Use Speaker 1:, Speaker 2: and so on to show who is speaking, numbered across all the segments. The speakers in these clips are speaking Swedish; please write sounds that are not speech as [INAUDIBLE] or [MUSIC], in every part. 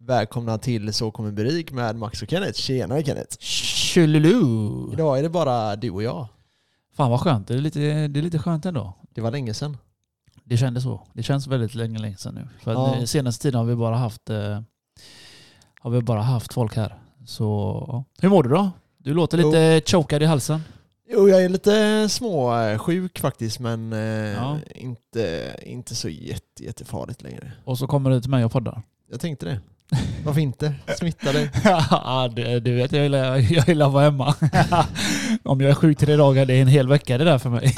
Speaker 1: Välkomna till Så kommer bli rik med Max och Kenneth. Tjenare Kenneth!
Speaker 2: Tjolilu!
Speaker 1: Idag är det bara du och jag.
Speaker 2: Fan vad skönt. Det är, lite, det är lite skönt ändå.
Speaker 1: Det var länge sedan.
Speaker 2: Det kändes så. Det känns väldigt länge, länge sedan nu. För att
Speaker 1: Ja.
Speaker 2: nu- senaste tiden har vi bara haft eh, har vi bara haft folk här. Så ja. hur mår du då? Du låter
Speaker 1: Jo.
Speaker 2: lite chokad i halsen.
Speaker 1: Jo, jag är lite småsjuk faktiskt men eh,
Speaker 2: Ja.
Speaker 1: inte, inte så jätte, jättefarligt längre.
Speaker 2: Och så kommer du till mig och poddar.
Speaker 1: Jag tänkte det. Varför inte? Smitta dig.
Speaker 2: [LAUGHS] ja, du, du vet, jag gillar, jag gillar att vara hemma. [LAUGHS] Om jag är sjuk tre dagar, det är en hel vecka det där för [LAUGHS] mig.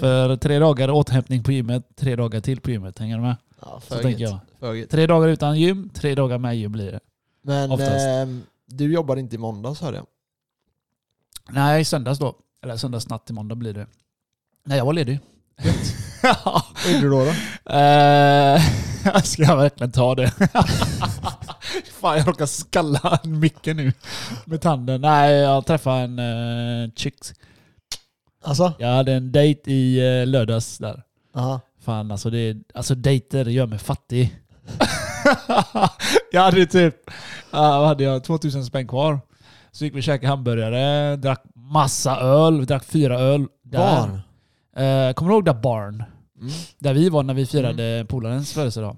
Speaker 2: för tre dagar återhämtning på gymmet, tre dagar till på gymmet. Hänger du med?
Speaker 1: Ja,
Speaker 2: Så tänker jag.
Speaker 1: Föget.
Speaker 2: Tre dagar utan gym, tre dagar med gym blir det.
Speaker 1: Men
Speaker 2: Oftast.
Speaker 1: ehm, du jobbar inte i måndags hörde jag.
Speaker 2: Nej, söndags då. Eller söndagsnatt till måndag blir det. Nej, jag var ledig.
Speaker 1: Vad gjorde du då? då?
Speaker 2: Eh, Ska jag verkligen ta det? [LAUGHS] Fan, jag råkar skalla en micke nu med tanden. Nej, jag träffade en uh, chicks.
Speaker 1: Alltså?
Speaker 2: Jag hade en dejt i eh, lördags där.
Speaker 1: Aha.
Speaker 2: Fan, alltså, det, alltså dejter gör mig fattig. [LAUGHS] jag hade typ ja, vad hade jag 2000 spänn kvar. Så gick vi och käkade hamburgare, drack massa öl, vi drack fyra öl. där.
Speaker 1: Barn?
Speaker 2: Eh, kommer du ihåg där barn?
Speaker 1: Mm.
Speaker 2: Där vi var när vi firade polarens födelsedag.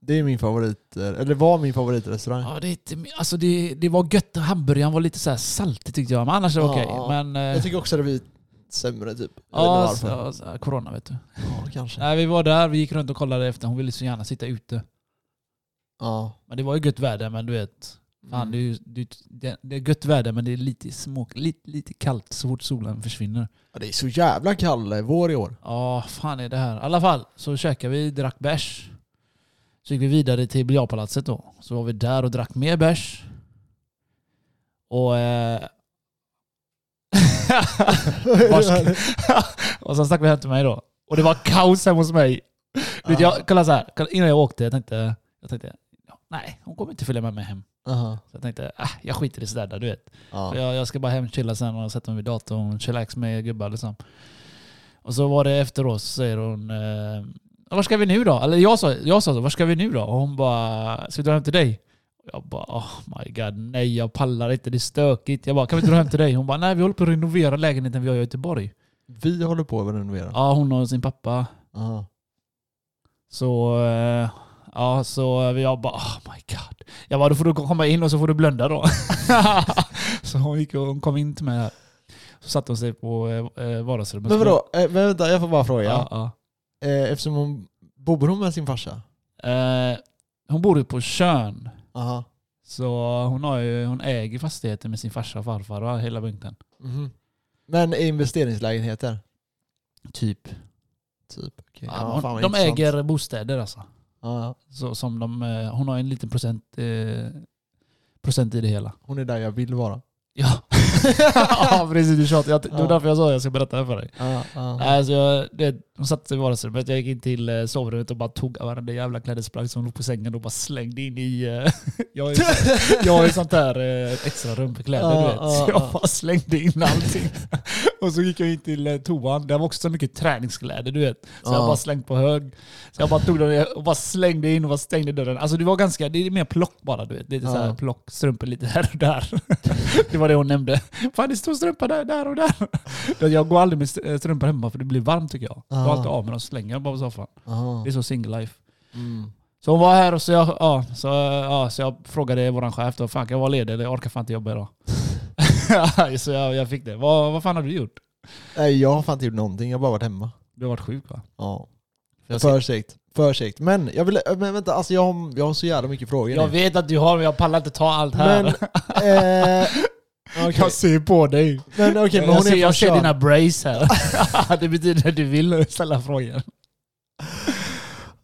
Speaker 1: Det är min favorit, eh, eller det var min favoritrestaurang.
Speaker 2: Ja, det, är inte, mi- alltså det, det var gött. Hamburgaren var lite så här saltig tyckte jag, men annars var det okej.
Speaker 1: Ja.
Speaker 2: Men... eh,
Speaker 1: Jag tycker också det blivit sämre typ. Jag
Speaker 2: ja,
Speaker 1: vet inte varför.
Speaker 2: så- så- corona vet du.
Speaker 1: Ja, kanske.
Speaker 2: Nej, vi var där, vi gick runt och kollade efter. Hon ville så gärna sitta ute.
Speaker 1: Ja.
Speaker 2: Men det var ju gött väder, men du vet. Fan, det, är, ju- det, är- det, det är gött väder, men det är lite, småk, lite, lite kallt så fort solen försvinner.
Speaker 1: Ja, det är så jävla kall eh, vår i år.
Speaker 2: Ja, fan är det här. I alla fall så käkade vi, drack bärs. Så gick vi vidare till biljardpalatset då. Så var vi där och drack mer bärs. Och... Eh... [LAUGHS] Vars- [LAUGHS] och sen stack vi hem till mig då. Och det var kaos hemma hos mig. Du Vet, jag kolla så här, kolla, innan jag åkte, jag tänkte, jag tänkte ja, nej, hon kommer inte följa med mig hem.
Speaker 1: Aha.
Speaker 2: Så jag tänkte, ah, jag skiter i sådär, du vet.
Speaker 1: Ja.
Speaker 2: För Jag, jag ska bara hem och chilla sen och sätta mig vid datorn och chillax med gubbar liksom. Och så var det efter oss så säger hon eh, Var ska vi nu då? Eller jag sa, jag sa så, var ska vi nu då? Och hon bara Ska vi dra hem till dig? Och Jag bara oh my god nej jag pallar inte, det är stökigt. Jag bara kan vi inte dra hem till dig? Hon bara nej vi håller på att renovera lägenheten vi har i Göteborg.
Speaker 1: Vi håller på att renovera.
Speaker 2: Ja hon och sin pappa.
Speaker 1: Aha.
Speaker 2: Så eh, ja så jag bara oh my god. Jag bara då får du komma in och så får du blunda då. [LAUGHS] så hon gick och hon kom in till mig här. Så satte hon sig på eh, eh, vardagsrummet.
Speaker 1: Men vadå, eh, men vänta jag får bara fråga.
Speaker 2: Ja, ja.
Speaker 1: Eh, eftersom hon, bor hon med sin farsa?
Speaker 2: Eh, hon bor ju på Tjörn.
Speaker 1: Aha.
Speaker 2: Så hon, har ju, hon äger fastigheten med sin farsa och farfar och hela bunten.
Speaker 1: Mhm. Men i investeringslägenheter?
Speaker 2: Typ.
Speaker 1: Typ. Okej.
Speaker 2: Ja,
Speaker 1: Ja,
Speaker 2: hon,
Speaker 1: fan vad
Speaker 2: de
Speaker 1: intressant.
Speaker 2: äger bostäder alltså.
Speaker 1: Ja, ja.
Speaker 2: Så, som de, eh, hon har en liten procent, eh, procent i det hela.
Speaker 1: Hon är där jag vill vara.
Speaker 2: [LAUGHS] Ja, ja precis. Du tjatar. Jag, det
Speaker 1: Ja.
Speaker 2: var därför jag sa att jag ska berätta det för dig.
Speaker 1: Ja, ja.
Speaker 2: Nej, Alltså jag, det, hon satte sig i vardagsrummet, jag gick in till eh, sovrummet och bara tog av varenda jävla klädesplagg som låg på sängen och bara slängde in i... eh, [LAUGHS] Jag har ju,
Speaker 1: [LAUGHS]
Speaker 2: jag har ju sånt där eh, extra rum för kläder
Speaker 1: Ja,
Speaker 2: du vet. Så
Speaker 1: ja, ja.
Speaker 2: jag bara slängde in allting. [LAUGHS] Och så gick jag in till eh, toan, där var också så mycket träningskläder du vet. Så jag
Speaker 1: Ja.
Speaker 2: bara slängt på hög. Så jag bara tog dem och bara slängde in och bara stängde dörren. Alltså det var ganska, det är mer plock bara du vet. Lite
Speaker 1: Ja.
Speaker 2: så här plock, strumpor lite här och där. [LAUGHS] Det var det hon nämnde. Fan det står strumpor där, där [LAUGHS] och där. Du vet, Jag går aldrig med st- eh, strumpor hemma för det blir varmt tycker jag. Jag har
Speaker 1: Ja.
Speaker 2: alltid av mig dem, slänger dem bara på soffan.
Speaker 1: Aha.
Speaker 2: Det är så single life.
Speaker 1: Mm.
Speaker 2: Så hon var här och så jag, ja, så, ja, så jag frågade våran chef då, fan kan jag vara ledig eller jag orkar fan inte jobba idag. [LAUGHS] så jag, jag fick det. Vad, vad fan har du gjort?
Speaker 1: Nej, jag har fan inte gjort någonting. Jag har bara varit hemma.
Speaker 2: Du har varit sjuk va?
Speaker 1: Ja.
Speaker 2: Jag, ser-
Speaker 1: Försikt. Försikt. Men jag vill, men vänta, alltså jag har, jag har så jävla mycket frågor
Speaker 2: jag
Speaker 1: nu.
Speaker 2: vet att du har men jag pallar inte ta allt här.
Speaker 1: Men,
Speaker 2: [LAUGHS]
Speaker 1: eh, okej.
Speaker 2: ser på dig.
Speaker 1: men okej, men hon
Speaker 2: jag ser,
Speaker 1: är från
Speaker 2: jag ser
Speaker 1: Tjörn.
Speaker 2: dina brace
Speaker 1: [LAUGHS]
Speaker 2: här. [LAUGHS] det betyder att du vill ställa frågor.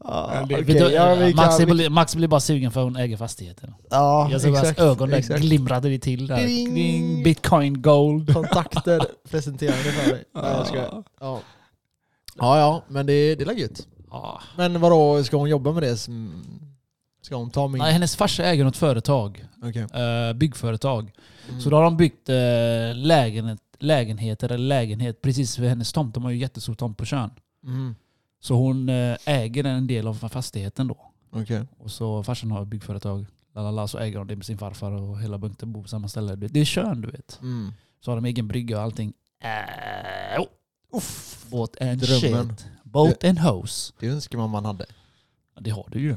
Speaker 1: Ja,
Speaker 2: Det-
Speaker 1: okej,
Speaker 2: vet du,
Speaker 1: ja, vi
Speaker 2: Max,
Speaker 1: kan- vi-
Speaker 2: blir, Max blir bara sugen för hon äger fastigheten.
Speaker 1: Ja,
Speaker 2: jag såg hans
Speaker 1: exakt,
Speaker 2: ögon där
Speaker 1: exakt.
Speaker 2: glimrade det till. Där.
Speaker 1: Ding.
Speaker 2: Ding. Bitcoin gold.
Speaker 1: Kontakter presenterade för dig. Nej, jag skojar.
Speaker 2: Ja.
Speaker 1: ja. ja, ja, men det, det är väl gött.
Speaker 2: Ja.
Speaker 1: Men vadå, ska hon jobba med det? som- Ska hon ta min...
Speaker 2: Nej, hennes farsa äger något företag.
Speaker 1: Okej.
Speaker 2: eh, byggföretag.
Speaker 1: Mm.
Speaker 2: Så då har de byggt eh, lägenhet, lägenheter eller lägenhet precis vid hennes tomt. De har ju jättestor tomt på Tjörn.
Speaker 1: Mm.
Speaker 2: Så hon eh, äger en del av fastigheten då.
Speaker 1: Okej.
Speaker 2: Och så farsan har ett byggföretag. Lalala, så äger de det med sin farfar och hela bunten bor på samma ställe. Det det är Tjörn du vet.
Speaker 1: Mm.
Speaker 2: Så har de egen brygga och allting. Äh, oh. Uff. Båt and
Speaker 1: Drömmen.
Speaker 2: shit. Boat and hose.
Speaker 1: Det önskar man man
Speaker 2: [LAUGHS]
Speaker 1: hade.
Speaker 2: Ja, Det har du ju.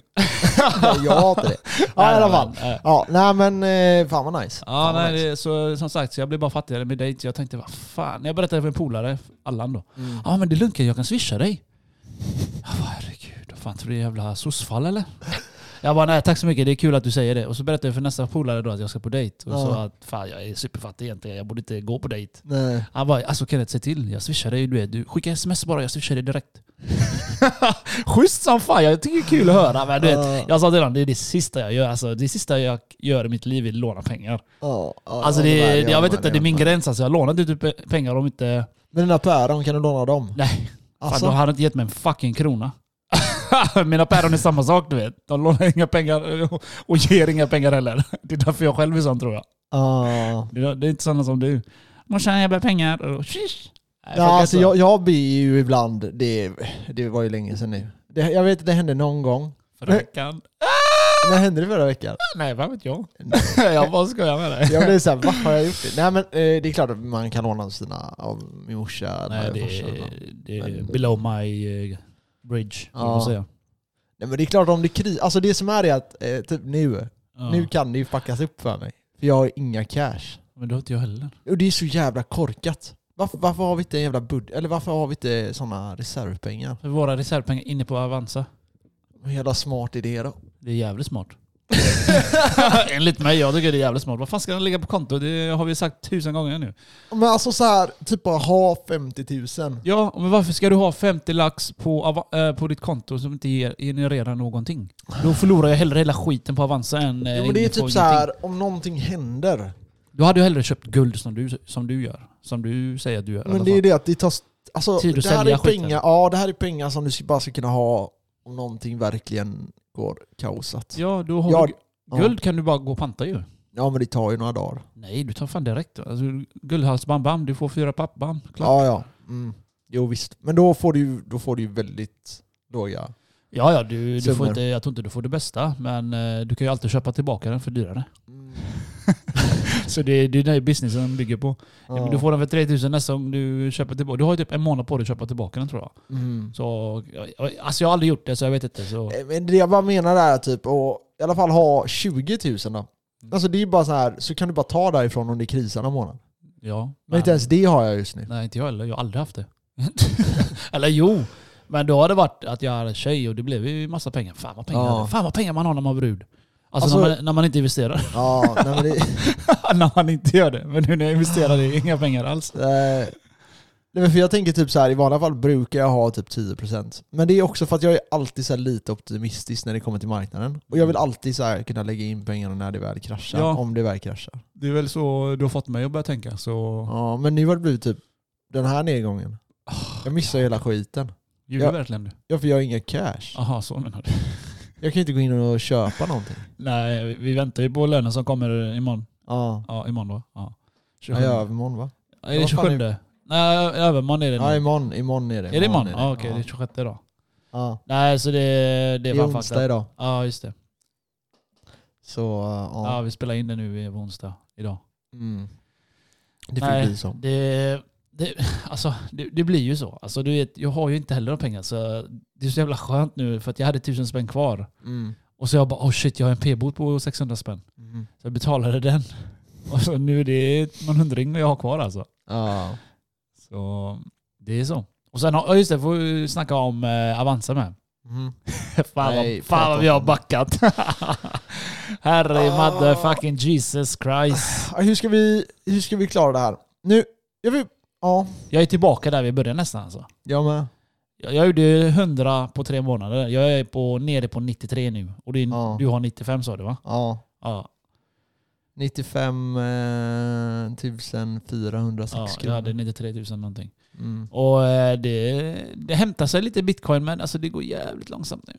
Speaker 1: jag hatar det. Ja i alla fall.
Speaker 2: Nej, men, äh.
Speaker 1: Ja, nej men eh, fan vad nice.
Speaker 2: Ja,
Speaker 1: fan vad
Speaker 2: nej,
Speaker 1: nice.
Speaker 2: det, så, som sagt, så jag blev bara fattigare med dejt. Jag tänkte, vad fan. Jag berättade för en polare, Allan då.
Speaker 1: Mm.
Speaker 2: Ja men det är lugnt, jag kan swisha dig. Jag bara, herregud, vad fan tror du det är jävla sossfall eller? Jag bara, nej tack så mycket, det är kul att du säger det. Och så berättade jag för nästa polare då att jag ska på dejt. Och så
Speaker 1: Ja.
Speaker 2: att fan jag är superfattig egentligen, jag borde inte gå på dejt.
Speaker 1: Nej.
Speaker 2: Han bara, alltså Kenneth se till, jag swishar dig. Du, vet. du skickar sms bara, jag swishar dig direkt. [LAUGHS] Schysst som fan, jag tycker det är kul att höra. Men du vet,
Speaker 1: Ja.
Speaker 2: jag sa till honom, det är det sista jag gör. Alltså, det sista jag gör i mitt liv är att låna pengar.
Speaker 1: Ja, ja,
Speaker 2: Alltså,
Speaker 1: ja,
Speaker 2: det,
Speaker 1: där,
Speaker 2: jag
Speaker 1: ja,
Speaker 2: vet
Speaker 1: där,
Speaker 2: inte,
Speaker 1: ja,
Speaker 2: det är min
Speaker 1: där.
Speaker 2: gräns. Alltså, jag lånar inte ut pengar om inte...
Speaker 1: Men dina päron, kan du låna dem?
Speaker 2: Nej,
Speaker 1: Alltså?
Speaker 2: Fan, de hade inte gett mig en fucking krona. [LAUGHS] Mina päron är samma sak du vet. De lånar inga pengar [LAUGHS] och- och ger inga pengar heller. [LAUGHS] Det är därför jag själv är sån tror jag.
Speaker 1: Ja.
Speaker 2: Det är, det är inte sådana som du. Morsan, jag behöver pengar. Och, "Shish." Nej,
Speaker 1: Ja,
Speaker 2: funkar
Speaker 1: alltså
Speaker 2: inte.
Speaker 1: jag, jag ber ju ibland, det, det var ju länge sedan nu. Det, jag vet att det hände någon gång.
Speaker 2: Förra veckan.
Speaker 1: När hände det förra
Speaker 2: [LAUGHS]
Speaker 1: veckan?
Speaker 2: Nej, vad vet jag?
Speaker 1: Nej.
Speaker 2: [LAUGHS] jag bara skojar med dig.
Speaker 1: Jag blev såhär, vad har jag gjort det? Nej men eh, det är klart att man kan låna av sina, av min morsa
Speaker 2: Nej,
Speaker 1: eller
Speaker 2: det
Speaker 1: farsan.
Speaker 2: är, det är
Speaker 1: Men-
Speaker 2: below my eh, bridge,
Speaker 1: Ja.
Speaker 2: höll jag på att säga.
Speaker 1: Nej men det är klart om det kris, alltså det som är är att eh, typ nu,
Speaker 2: Ja.
Speaker 1: nu kan det ju fuckas upp för mig. För jag har inga cash.
Speaker 2: Men det har inte jag heller.
Speaker 1: Och det är så jävla korkat. Varför, varför har vi inte en jävla bud eller varför har vi inte sådana reservpengar?
Speaker 2: För våra reservpengar inne på Avanza.
Speaker 1: En jävla smart idé då.
Speaker 2: Det är jävligt smart. [LAUGHS] Enligt mig, jag tycker det är jävligt smart. Vad fan ska den ligga på konto? Det har vi sagt tusen gånger nu.
Speaker 1: Men alltså så här, typ bara ha 50 000.
Speaker 2: Ja, men varför ska du ha 50 lax på, Ava- eh, på ditt konto som inte ger, genererar någonting? Då förlorar jag hellre hela skiten på Avanza än... eh,
Speaker 1: Jo, men
Speaker 2: inne
Speaker 1: det är typ
Speaker 2: på
Speaker 1: så
Speaker 2: ingenting.
Speaker 1: här, om någonting händer.
Speaker 2: Då hade jag hellre köpt guld som du, som du gör. Som du säger att du gör. i alla
Speaker 1: Men det är
Speaker 2: fall.
Speaker 1: det att det tar... st- Alltså,
Speaker 2: Tid att
Speaker 1: det här
Speaker 2: sälja
Speaker 1: är
Speaker 2: skiten.
Speaker 1: pengar, ja, det här är pengar som du ska- bara ska kunna ha om någonting verkligen går kaosat.
Speaker 2: Ja, då har
Speaker 1: Ja,
Speaker 2: du,
Speaker 1: ja.
Speaker 2: guld kan du bara gå och panta ju.
Speaker 1: Ja men det tar ju några dagar.
Speaker 2: Nej, du tar fan direkt. Alltså, guldhalsband, bam, du får fyra papp, bam, klart.
Speaker 1: Ja ja. Mm. Jo visst. Men då får du ju, då får du ju väldigt låga...
Speaker 2: Ja, ja, du, du får
Speaker 1: Summor.
Speaker 2: inte, jag tror inte du får det bästa, men eh, du kan ju alltid köpa tillbaka den
Speaker 1: [LAUGHS]
Speaker 2: för dyrare.
Speaker 1: Mm.
Speaker 2: Så det, det är den här businessen bygger på.
Speaker 1: Ja.
Speaker 2: Du får den för 3000 nästa gång du köper tillbaka. Du har ju typ en månad på dig att köpa tillbaka den tror jag.
Speaker 1: Mm.
Speaker 2: Så, jag- jag- alltså jag har aldrig gjort det så jag vet inte. Så.
Speaker 1: Eh, Men det jag bara menar är typ att i alla fall ha 20 000 då.
Speaker 2: Mm.
Speaker 1: Alltså det är ju bara så här, så kan du bara ta därifrån om det krisar någon månad.
Speaker 2: Ja,
Speaker 1: Men inte ens det har jag just
Speaker 2: [LAUGHS]
Speaker 1: nu.
Speaker 2: Nej, inte jag heller. Jag har aldrig haft det. [LAUGHS] Eller jo, men då har det varit att jag hade en tjej och det blev ju massa pengar. Fan vad pengar,
Speaker 1: Ja.
Speaker 2: Fan vad pengar man har när man har brud. Alltså,
Speaker 1: Alltså-
Speaker 2: när, man, när man inte investerar. [LAUGHS]
Speaker 1: Ja, nej, men det,
Speaker 2: när man inte gör det. Men nu när jag investerar det är inga pengar alls.
Speaker 1: eh, nej, men för jag tänker typ så här, i vanliga fall brukar jag ha typ 10%. Men det är också för att jag är alltid så här lite optimistisk när det kommer till marknaden. Och jag vill alltid så här kunna lägga in pengarna när det väl kraschar.
Speaker 2: Mm. Ja.
Speaker 1: Om det väl kraschar.
Speaker 2: Det är väl så du har fått mig att börja tänka. Så
Speaker 1: Ja, men nu har det blivit typ den här nedgången. Jag missar hela skiten.
Speaker 2: ljuger
Speaker 1: Ja.
Speaker 2: verkligen du?
Speaker 1: Ja, för jag har inga cash.
Speaker 2: Jaha, så menar du?
Speaker 1: Jag kan inte gå in och köpa någonting.
Speaker 2: Nej, vi- vi väntar ju på lönen som kommer imorgon.
Speaker 1: Ja.
Speaker 2: Ja, imorgon då. Ja. 27.
Speaker 1: Ja, ja, imorgon va?
Speaker 2: Är det
Speaker 1: Vad fan är-
Speaker 2: 27? Nej, övermorgon är det.
Speaker 1: Ja,
Speaker 2: nu.
Speaker 1: imorgon, imorgon är det.
Speaker 2: Är det imorgon? Ja, okej.
Speaker 1: ja.
Speaker 2: Det är 26 då.
Speaker 1: Ja.
Speaker 2: Nej, så det, det
Speaker 1: Det
Speaker 2: är
Speaker 1: är
Speaker 2: fan
Speaker 1: onsdag
Speaker 2: fakta.
Speaker 1: idag.
Speaker 2: Ja, just det.
Speaker 1: Så, eh, ja.
Speaker 2: Ja, vi spelar in det nu eh, på onsdag idag.
Speaker 1: Mm. Det får
Speaker 2: Nej,
Speaker 1: bli så.
Speaker 2: Det, det, alltså, det, det blir ju så. Alltså, du vet, jag har ju inte heller de pengar. Så det är så jävla skönt nu för att jag hade tusen spänn kvar.
Speaker 1: Mm.
Speaker 2: Och så jag bara, oh shit, jag har en p-bot på 600 spänn.
Speaker 1: Mm.
Speaker 2: Så jag betalade den. [LAUGHS] Och så nu är det någon hundring jag har kvar alltså.
Speaker 1: Ja.
Speaker 2: Så det är så. Och sen har, ja, just det, får vi snacka om eh,
Speaker 1: [LAUGHS]
Speaker 2: Avanza med.
Speaker 1: Mm.
Speaker 2: Fan,
Speaker 1: Nej,
Speaker 2: vad, fan
Speaker 1: prata
Speaker 2: vad vi har
Speaker 1: om-
Speaker 2: backat. [LAUGHS] Herre
Speaker 1: Ah.
Speaker 2: motherfucking Jesus Christ.
Speaker 1: Ja, Hur, ska vi, hur ska vi klara det här? Nu, jag vill... Ja,
Speaker 2: Jag är tillbaka där vi började nästan alltså.
Speaker 1: jag med.
Speaker 2: Jag, jag gjorde 100 på tre månader. Jag är på, nere på 93 nu. Och det är,
Speaker 1: Ja.
Speaker 2: du har 95 sa du va?
Speaker 1: Ja.
Speaker 2: Ja.
Speaker 1: 95 eh, 406
Speaker 2: ja jag
Speaker 1: kronor.
Speaker 2: hade 93 000 någonting.
Speaker 1: Mm.
Speaker 2: Och eh, det, det hämtar sig lite bitcoin men alltså det går jävligt långsamt nu.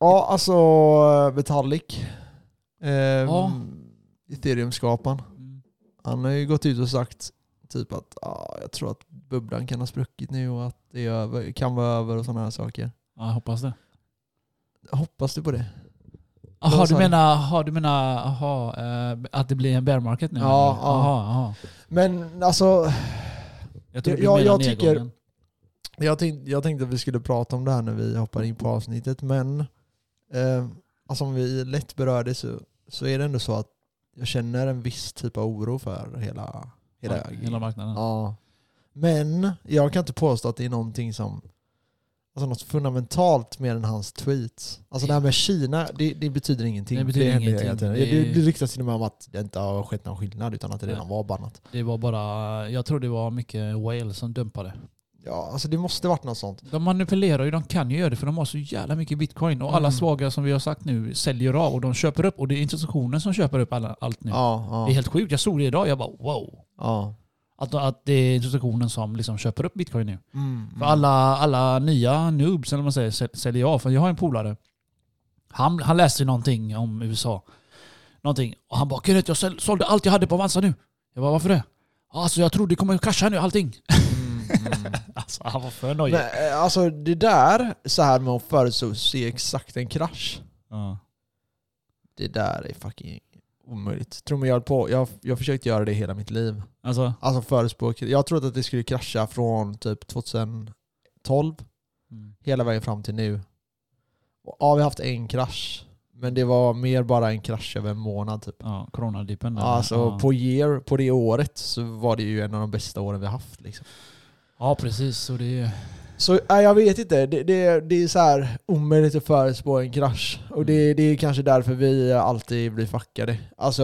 Speaker 1: Ja, alltså Metallic. Eh,
Speaker 2: Ja.
Speaker 1: Ethereum-skaparen.
Speaker 2: Mm.
Speaker 1: Han har ju gått ut och sagt typ att ah, jag tror att bubblan kan ha spruckit nu och att det är över, kan vara över och sådana här saker.
Speaker 2: Ja, jag hoppas det.
Speaker 1: Hoppas du på det?
Speaker 2: Jaha,
Speaker 1: Vad
Speaker 2: du
Speaker 1: sa du?
Speaker 2: menar, aha, du menar aha, eh, att det blir en bear market nu?
Speaker 1: Ja,
Speaker 2: eller?
Speaker 1: ja.
Speaker 2: Aha, aha.
Speaker 1: Men alltså,
Speaker 2: Jag, tror
Speaker 1: Ja,
Speaker 2: du menar
Speaker 1: jag tycker-
Speaker 2: nedgången.
Speaker 1: jag tänkte, jag tänkte att vi skulle prata om det här när vi hoppar in på avsnittet, men eh, alltså om vi lätt berör det så, så är det ändå så att jag känner en viss typ av oro för hela... hela,
Speaker 2: Mark- hela marknaden.
Speaker 1: ja. Men jag kan inte påstå att det är någonting som... Alltså något fundamentalt mer än hans tweets. Alltså det här med Kina, det, det betyder ingenting.
Speaker 2: Det betyder
Speaker 1: händer
Speaker 2: ingenting.
Speaker 1: hela tiden.
Speaker 2: Det är-
Speaker 1: Det, det ryktas till och med om att det inte har skett någon skillnad utan att det redan var bannat.
Speaker 2: Det var bara, jag tror det var mycket whale som dumpade.
Speaker 1: Ja, alltså det måste varit något sånt.
Speaker 2: De manipulerar ju, de kan ju göra det för de har så jävla mycket bitcoin. Och alla
Speaker 1: Mm.
Speaker 2: svaga som vi har sagt nu säljer av och de köper upp. Och det är institutionen som köper upp alla, allt nu.
Speaker 1: Ja, ja,
Speaker 2: Det är helt sjukt. Jag såg det idag jag bara wow.
Speaker 1: ja.
Speaker 2: Att, att det är institutionen som liksom köper upp bitcoin nu.
Speaker 1: Mm,
Speaker 2: För alla, alla nya noobs, eller vad man säger, säl- säljer av. För jag har en polare. Han, han läste ju någonting om USA. Någonting. Och han bara “Kenneth, jag säl- sålde allt jag hade på Avanza nu”. Jag bara “Varför det?” “Alltså jag tror det kommer krascha nu, allting”.
Speaker 1: Mm, mm.
Speaker 2: Alltså han var för nöjd.
Speaker 1: Men, eh, alltså det där, så här med att förutse exakt en krasch.
Speaker 2: Ja.
Speaker 1: Det där är fucking omöjligt. Tror mig jag höll på, jag, jag försökte göra det hela mitt liv.
Speaker 2: Alltså,
Speaker 1: Alltså förespråka, jag trodde att det skulle krascha från typ 2012
Speaker 2: mm.
Speaker 1: hela vägen fram till nu. Och, ja, vi har haft en krasch. Men det var mer bara en krasch över en månad typ.
Speaker 2: ja, coronadippen. där.
Speaker 1: Alltså
Speaker 2: ja.
Speaker 1: på, year, på det året så var det ju en av de bästa åren vi har haft. Liksom.
Speaker 2: ja, precis. Så det är...
Speaker 1: Så nej, jag vet inte. Det, det, det är så här omöjligt att förutspå en krasch. Och det, det är kanske därför vi alltid blir fuckade. Alltså,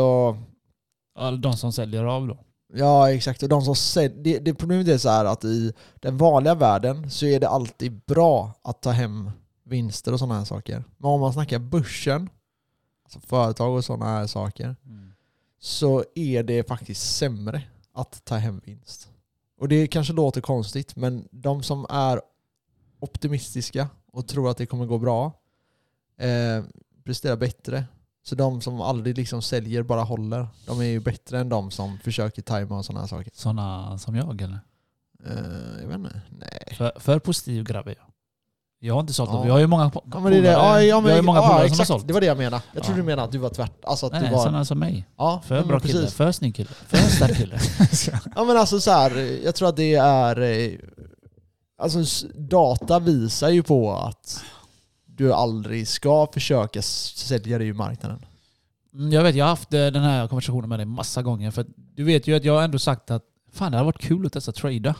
Speaker 2: ja, de som säljer av då.
Speaker 1: ja exakt. Och de som sälj, det, det problemet är så här att i den vanliga världen så är det alltid bra att ta hem vinster och sådana här saker. Men om man snackar börsen, alltså företag och sådana här saker, så är det faktiskt sämre att ta hem vinst. Och det kanske låter konstigt, men de som är optimistiska och tror att det kommer gå bra eh, presterar bättre. Så de som aldrig liksom säljer, bara håller, de är ju bättre än de som försöker tajma och sådana här saker.
Speaker 2: Sådana som jag eller?
Speaker 1: Eh, jag vet inte. Nej.
Speaker 2: För, för positiv grabb är jag. Jag har inte sålt
Speaker 1: Ja.
Speaker 2: av. Jag har ju många po-
Speaker 1: Ja, men det är det. Ja,
Speaker 2: polare-
Speaker 1: ja, men,
Speaker 2: jag har ju många
Speaker 1: ja,
Speaker 2: polare som har
Speaker 1: exakt.
Speaker 2: sålt.
Speaker 1: Det var det jag menade. Jag trodde
Speaker 2: Ja.
Speaker 1: du menade att du var tvärt. Alltså att
Speaker 2: Nej,
Speaker 1: du
Speaker 2: nej,
Speaker 1: var...
Speaker 2: sådana som mig.
Speaker 1: ja,
Speaker 2: För
Speaker 1: ja, men
Speaker 2: bra
Speaker 1: precis.
Speaker 2: kille, för snygg kille, för
Speaker 1: [LAUGHS]
Speaker 2: stark kille.
Speaker 1: Ja men alltså så här, jag tror att det är... eh, Alltså s- data visar ju på att du aldrig ska försöka s- sälja dig ur marknaden.
Speaker 2: Mm, jag vet, jag har haft eh, den här konversationen med dig massa gånger. För att du vet ju att jag har ändå sagt att fan det hade varit kul att testa trada.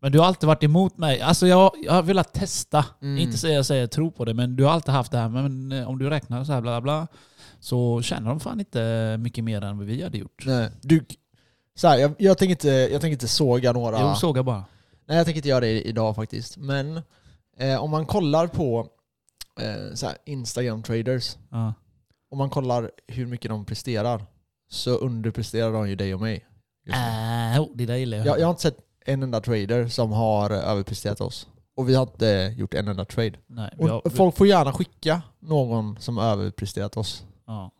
Speaker 2: Men du har alltid varit emot mig. Alltså jag, jag har velat testa.
Speaker 1: Mm.
Speaker 2: Inte säga jag säger tro på det, men du har alltid haft det här. Men eh, om du räknar så här bla bla bla. Så tjänar de fan inte mycket mer än vad vi hade gjort.
Speaker 1: Nej. Du, så här, jag, jag, tänker inte, jag tänker inte såga några...
Speaker 2: Jo, såg jag bara.
Speaker 1: Nej jag tänker inte göra det idag faktiskt. Men eh, om man kollar på eh, så här, Instagram traders,
Speaker 2: Ja.
Speaker 1: om man kollar hur mycket de presterar, så underpresterar de ju dig och mig. just nu.
Speaker 2: Äh, jo, det där gillar jag.
Speaker 1: Jag, jag har inte sett en enda trader som har eh, överpresterat oss. Och vi har inte gjort en enda trade.
Speaker 2: Nej,
Speaker 1: Och
Speaker 2: jag,
Speaker 1: Folk får gärna skicka någon som har överpresterat oss.
Speaker 2: ja,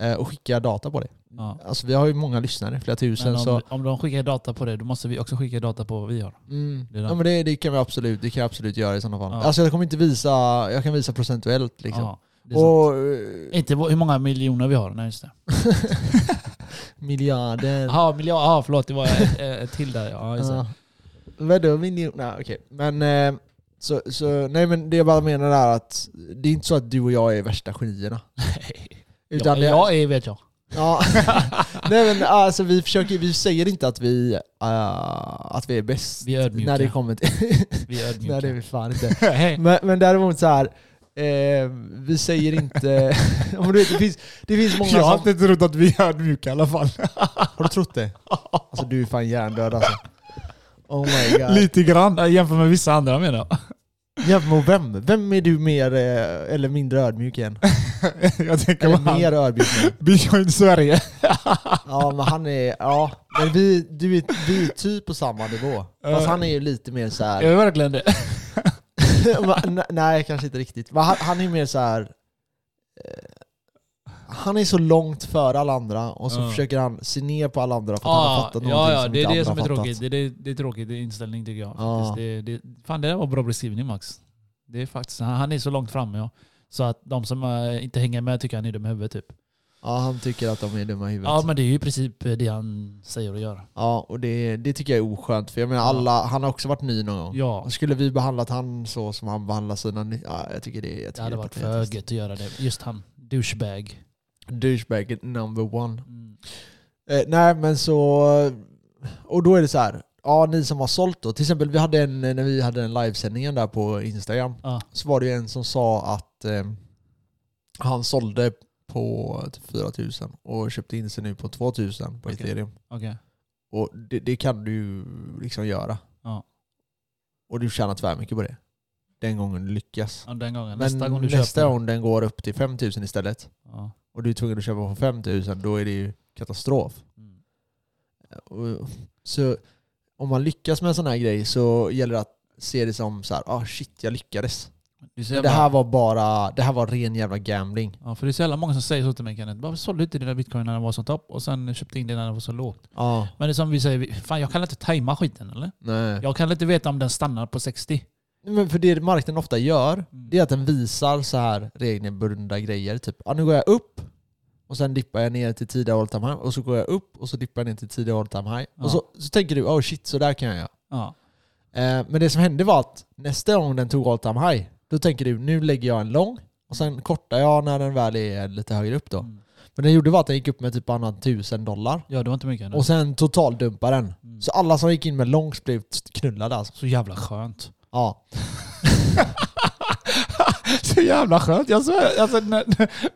Speaker 1: eh, Och skicka data på det.
Speaker 2: ja.
Speaker 1: Alltså vi har ju många lyssnare, flera tusen.
Speaker 2: Men om,
Speaker 1: så,
Speaker 2: om de skickar data på det, då måste vi också skicka data på vad vi har.
Speaker 1: mm,
Speaker 2: det är det.
Speaker 1: ja, men det, det kan vi absolut, det kan jag absolut göra i sådana fall.
Speaker 2: Ja.
Speaker 1: Alltså jag kommer inte visa, jag kan visa procentuellt liksom.
Speaker 2: Ja, det är sant.
Speaker 1: Och
Speaker 2: Inte vad- hur många miljoner vi har. Nej, just det.
Speaker 1: eh, miljarder.
Speaker 2: Jaha, miljard. Ja, förlåt. Det var ett, ett till där. Ja, just det.
Speaker 1: Ja. Vadå miljoner? Nej okej. Men, eh, så, så, nej men det jag bara menar är att det är inte så att du och jag är värsta genierna. Utan
Speaker 2: jag,
Speaker 1: det-
Speaker 2: jag är, vet jag.
Speaker 1: Ja. [LAUGHS] Nej men alltså vi försöker, vi säger inte att vi, eh, att vi är bäst.
Speaker 2: Vi är ödmjuka.
Speaker 1: När det kommer till...
Speaker 2: Vi är
Speaker 1: [LAUGHS] Nej det är
Speaker 2: ödmjuka.
Speaker 1: vi fan inte.
Speaker 2: Hej.
Speaker 1: Men, men däremot så här. Eh, vi säger inte... [LAUGHS] om du vet, det, finns, det finns många
Speaker 2: Jag har
Speaker 1: som... inte trott att vi är ödmjuka i alla fall. Har du trott det? Alltså du är fan hjärndöd alltså. Oh
Speaker 2: [LAUGHS]
Speaker 1: my god.
Speaker 2: Lite grann jämfört med vissa andra
Speaker 1: [LAUGHS]
Speaker 2: menar jag.
Speaker 1: Jämför med vem? Vem är du mer eh, eller mindre ödmjuk än?
Speaker 2: jag
Speaker 1: [LAUGHS]
Speaker 2: tänker
Speaker 1: Eller mer ödmjuk än?
Speaker 2: Bitcoin Sverige.
Speaker 1: [LAUGHS] Ja men han är... Ja. Men vi, du är, vi är typ på samma nivå. Fast
Speaker 2: Eh.
Speaker 1: han är ju lite mer så här...
Speaker 2: Är det verkligen det?
Speaker 1: [LAUGHS] Men, Nej, kanske inte riktigt. Men han, han är mer så här. eh, Han är så långt före alla andra och så
Speaker 2: Ja.
Speaker 1: försöker han se ner på alla andra för att han har
Speaker 2: Ja,
Speaker 1: fattat
Speaker 2: ja,
Speaker 1: någonting
Speaker 2: ja,
Speaker 1: som
Speaker 2: det
Speaker 1: inte
Speaker 2: är det
Speaker 1: andra
Speaker 2: som är
Speaker 1: har fattat.
Speaker 2: tråkigt. Det är, det är tråkigt det är inställning tycker jag.
Speaker 1: Ja.
Speaker 2: faktiskt. Det, det, fan det där var bra beskrivning Max. Det är faktiskt, han, han är så långt framme ja. Så att de som eh, inte hänger med tycker han är dum i huvudet typ.
Speaker 1: Ja, han tycker att de är dumma i huvudet.
Speaker 2: Ja men det är ju i princip eh, det han säger och gör.
Speaker 1: Ja, och det, det tycker jag är oskönt. För jag menar
Speaker 2: Ja.
Speaker 1: alla, han har också varit ny någon gång.
Speaker 2: Ja.
Speaker 1: Skulle vi behandlat han så som han behandlar sina ny- ja, jag tycker det, jag
Speaker 2: Det
Speaker 1: tycker
Speaker 2: hade
Speaker 1: är
Speaker 2: varit för
Speaker 1: patetiskt.
Speaker 2: gött att göra det. Just han, douchebag.
Speaker 1: Douchebag number one.
Speaker 2: Mm.
Speaker 1: Eh, nej men så, och då är det så här. Ja, ni som har sålt då. Till exempel vi hade en, eh, när vi hade den livesändningen där på Instagram.
Speaker 2: Ja.
Speaker 1: Så var det ju en som sa att eh, han sålde på typ 4000 och köpte in sig nu på 2000 på
Speaker 2: Okej.
Speaker 1: ethereum.
Speaker 2: Okej.
Speaker 1: Och det, det kan du ju liksom göra.
Speaker 2: Ja.
Speaker 1: Och du tjänar tvärmycket på det. Den gången du lyckas.
Speaker 2: Ja, den gången.
Speaker 1: Men
Speaker 2: Nästa gång du
Speaker 1: nästa
Speaker 2: köper.
Speaker 1: gång den går upp till 5000 istället
Speaker 2: Ja.
Speaker 1: och du är tvungen att köpa på 5000 då är det ju katastrof.
Speaker 2: Mm.
Speaker 1: Och- Så om man lyckas med en sån här grej så gäller det att se det som så här, ah shit jag lyckades.
Speaker 2: Du ser
Speaker 1: Men Det här var bara, det här var ren jävla gambling.
Speaker 2: Ja, för det är så jävla många som säger så till mig Kenneth. Varför sålde du inte dina bitcoin när den var som topp och sen köpte in den när den var så lågt?
Speaker 1: Ja,
Speaker 2: Men det är som vi säger, vi- fan jag kan inte tajma skiten eller?
Speaker 1: nej.
Speaker 2: Jag kan inte veta om den stannar på 60.
Speaker 1: Men för det marknaden ofta gör,
Speaker 2: Mm.
Speaker 1: det är att den visar så här regelbundna grejer. Typ, ah, nu går jag upp och sen dippar jag ner till tidigare all time high och så går jag upp och så dippar jag ner till tidigare all time high.
Speaker 2: Ja.
Speaker 1: Och så, så tänker du, oh shit så där kan jag göra.
Speaker 2: Ja.
Speaker 1: Eh, Men det som hände var att nästa gång den tog all time high, då tänker du nu lägger jag en lång och sen kortar jag när den väl är lite högre upp då.
Speaker 2: Mm.
Speaker 1: Men den gjorde var att den gick upp med typ annan tusen dollar
Speaker 2: ja, det var inte mycket. Eller?
Speaker 1: och sen totaldumpade den.
Speaker 2: Mm.
Speaker 1: Så alla som gick in med långs blev knullade alltså.
Speaker 2: Så jävla skönt. [LAUGHS]
Speaker 1: Ja.
Speaker 2: Så jävla skönt. Jag svär. Alltså, när,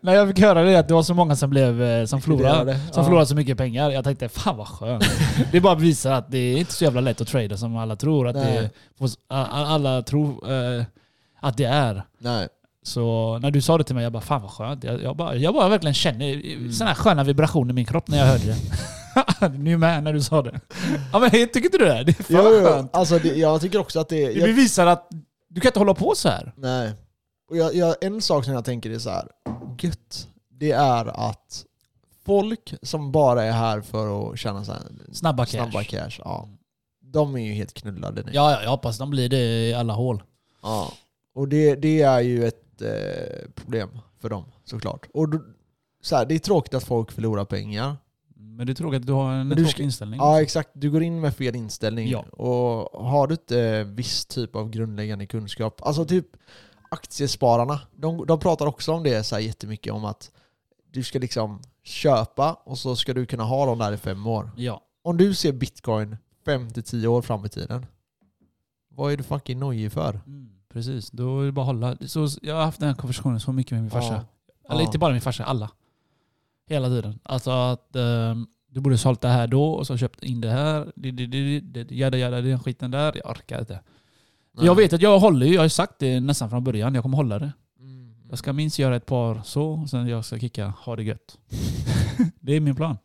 Speaker 2: när jag fick höra det att det var så många som, blev, eh, som,
Speaker 1: Det
Speaker 2: förlorade,
Speaker 1: är det.
Speaker 2: som
Speaker 1: Ja.
Speaker 2: förlorade så mycket pengar. Jag tänkte fan vad
Speaker 1: [LAUGHS]
Speaker 2: skönt. det bara visar att det är inte så jävla lätt att trada som alla tror att, det,
Speaker 1: Nej.
Speaker 2: får- a- a- alla tror, eh, att det är.
Speaker 1: Nej.
Speaker 2: Så när du sa det till mig, jag bara fan vad skönt. Jag, jag, bara, jag bara verkligen känner sådana här sköna vibrationer i min kropp när jag hörde [LAUGHS] det. nu med när du sa det. Ja men tycker inte du det? Det är fan
Speaker 1: Jo,
Speaker 2: vad
Speaker 1: jo.
Speaker 2: skönt.
Speaker 1: Alltså, det, jag tycker också att det är...
Speaker 2: Det
Speaker 1: Jag,
Speaker 2: bevisar att du kan inte hålla på så här.
Speaker 1: nej. Och jag, jag, en sak som jag tänker är så här, gött, det är att folk som bara är här för att tjäna så här,
Speaker 2: Snabba cash.
Speaker 1: snabba cash, ja. de är ju helt knullade nu.
Speaker 2: Ja, ja, jag hoppas de blir det i alla hål.
Speaker 1: Ja. Och det, det är ju ett eh, problem för dem såklart. Och då, så här, det är tråkigt att folk förlorar
Speaker 2: Mm.
Speaker 1: pengar.
Speaker 2: Men det är tråkigt att du har
Speaker 1: Men
Speaker 2: en
Speaker 1: du
Speaker 2: tråkig
Speaker 1: ska-
Speaker 2: inställning.
Speaker 1: Ja exakt, du går in med fel inställning.
Speaker 2: Ja.
Speaker 1: Och har du inte eh, viss typ av grundläggande kunskap, alltså typ aktiespararna, de, de pratar också om det så här jättemycket om att du ska liksom köpa och så ska du kunna ha dem där i fem år.
Speaker 2: ja.
Speaker 1: Om du ser bitcoin 5-10 år fram i tiden, vad är du fucking nojig för?
Speaker 2: Mm, precis. Då är det bara att hålla. Så, jag har haft den här konversationen så mycket med min farsa.
Speaker 1: Ja.
Speaker 2: Eller
Speaker 1: Ja.
Speaker 2: inte bara min farsa, alla. Hela tiden. Alltså att ehm, du borde sålt det här då och så köpt in det här. Det- det- det- det- det- Jada jada, den skiten där. Jag orkar inte.
Speaker 1: Nej.
Speaker 2: Jag vet att jag håller ju, jag har ju sagt det nästan från början, jag kommer hålla det.
Speaker 1: Mm.
Speaker 2: Jag ska minst göra ett par så, och sen jag ska kicka, ha
Speaker 1: [LAUGHS]
Speaker 2: det gött. det är min plan.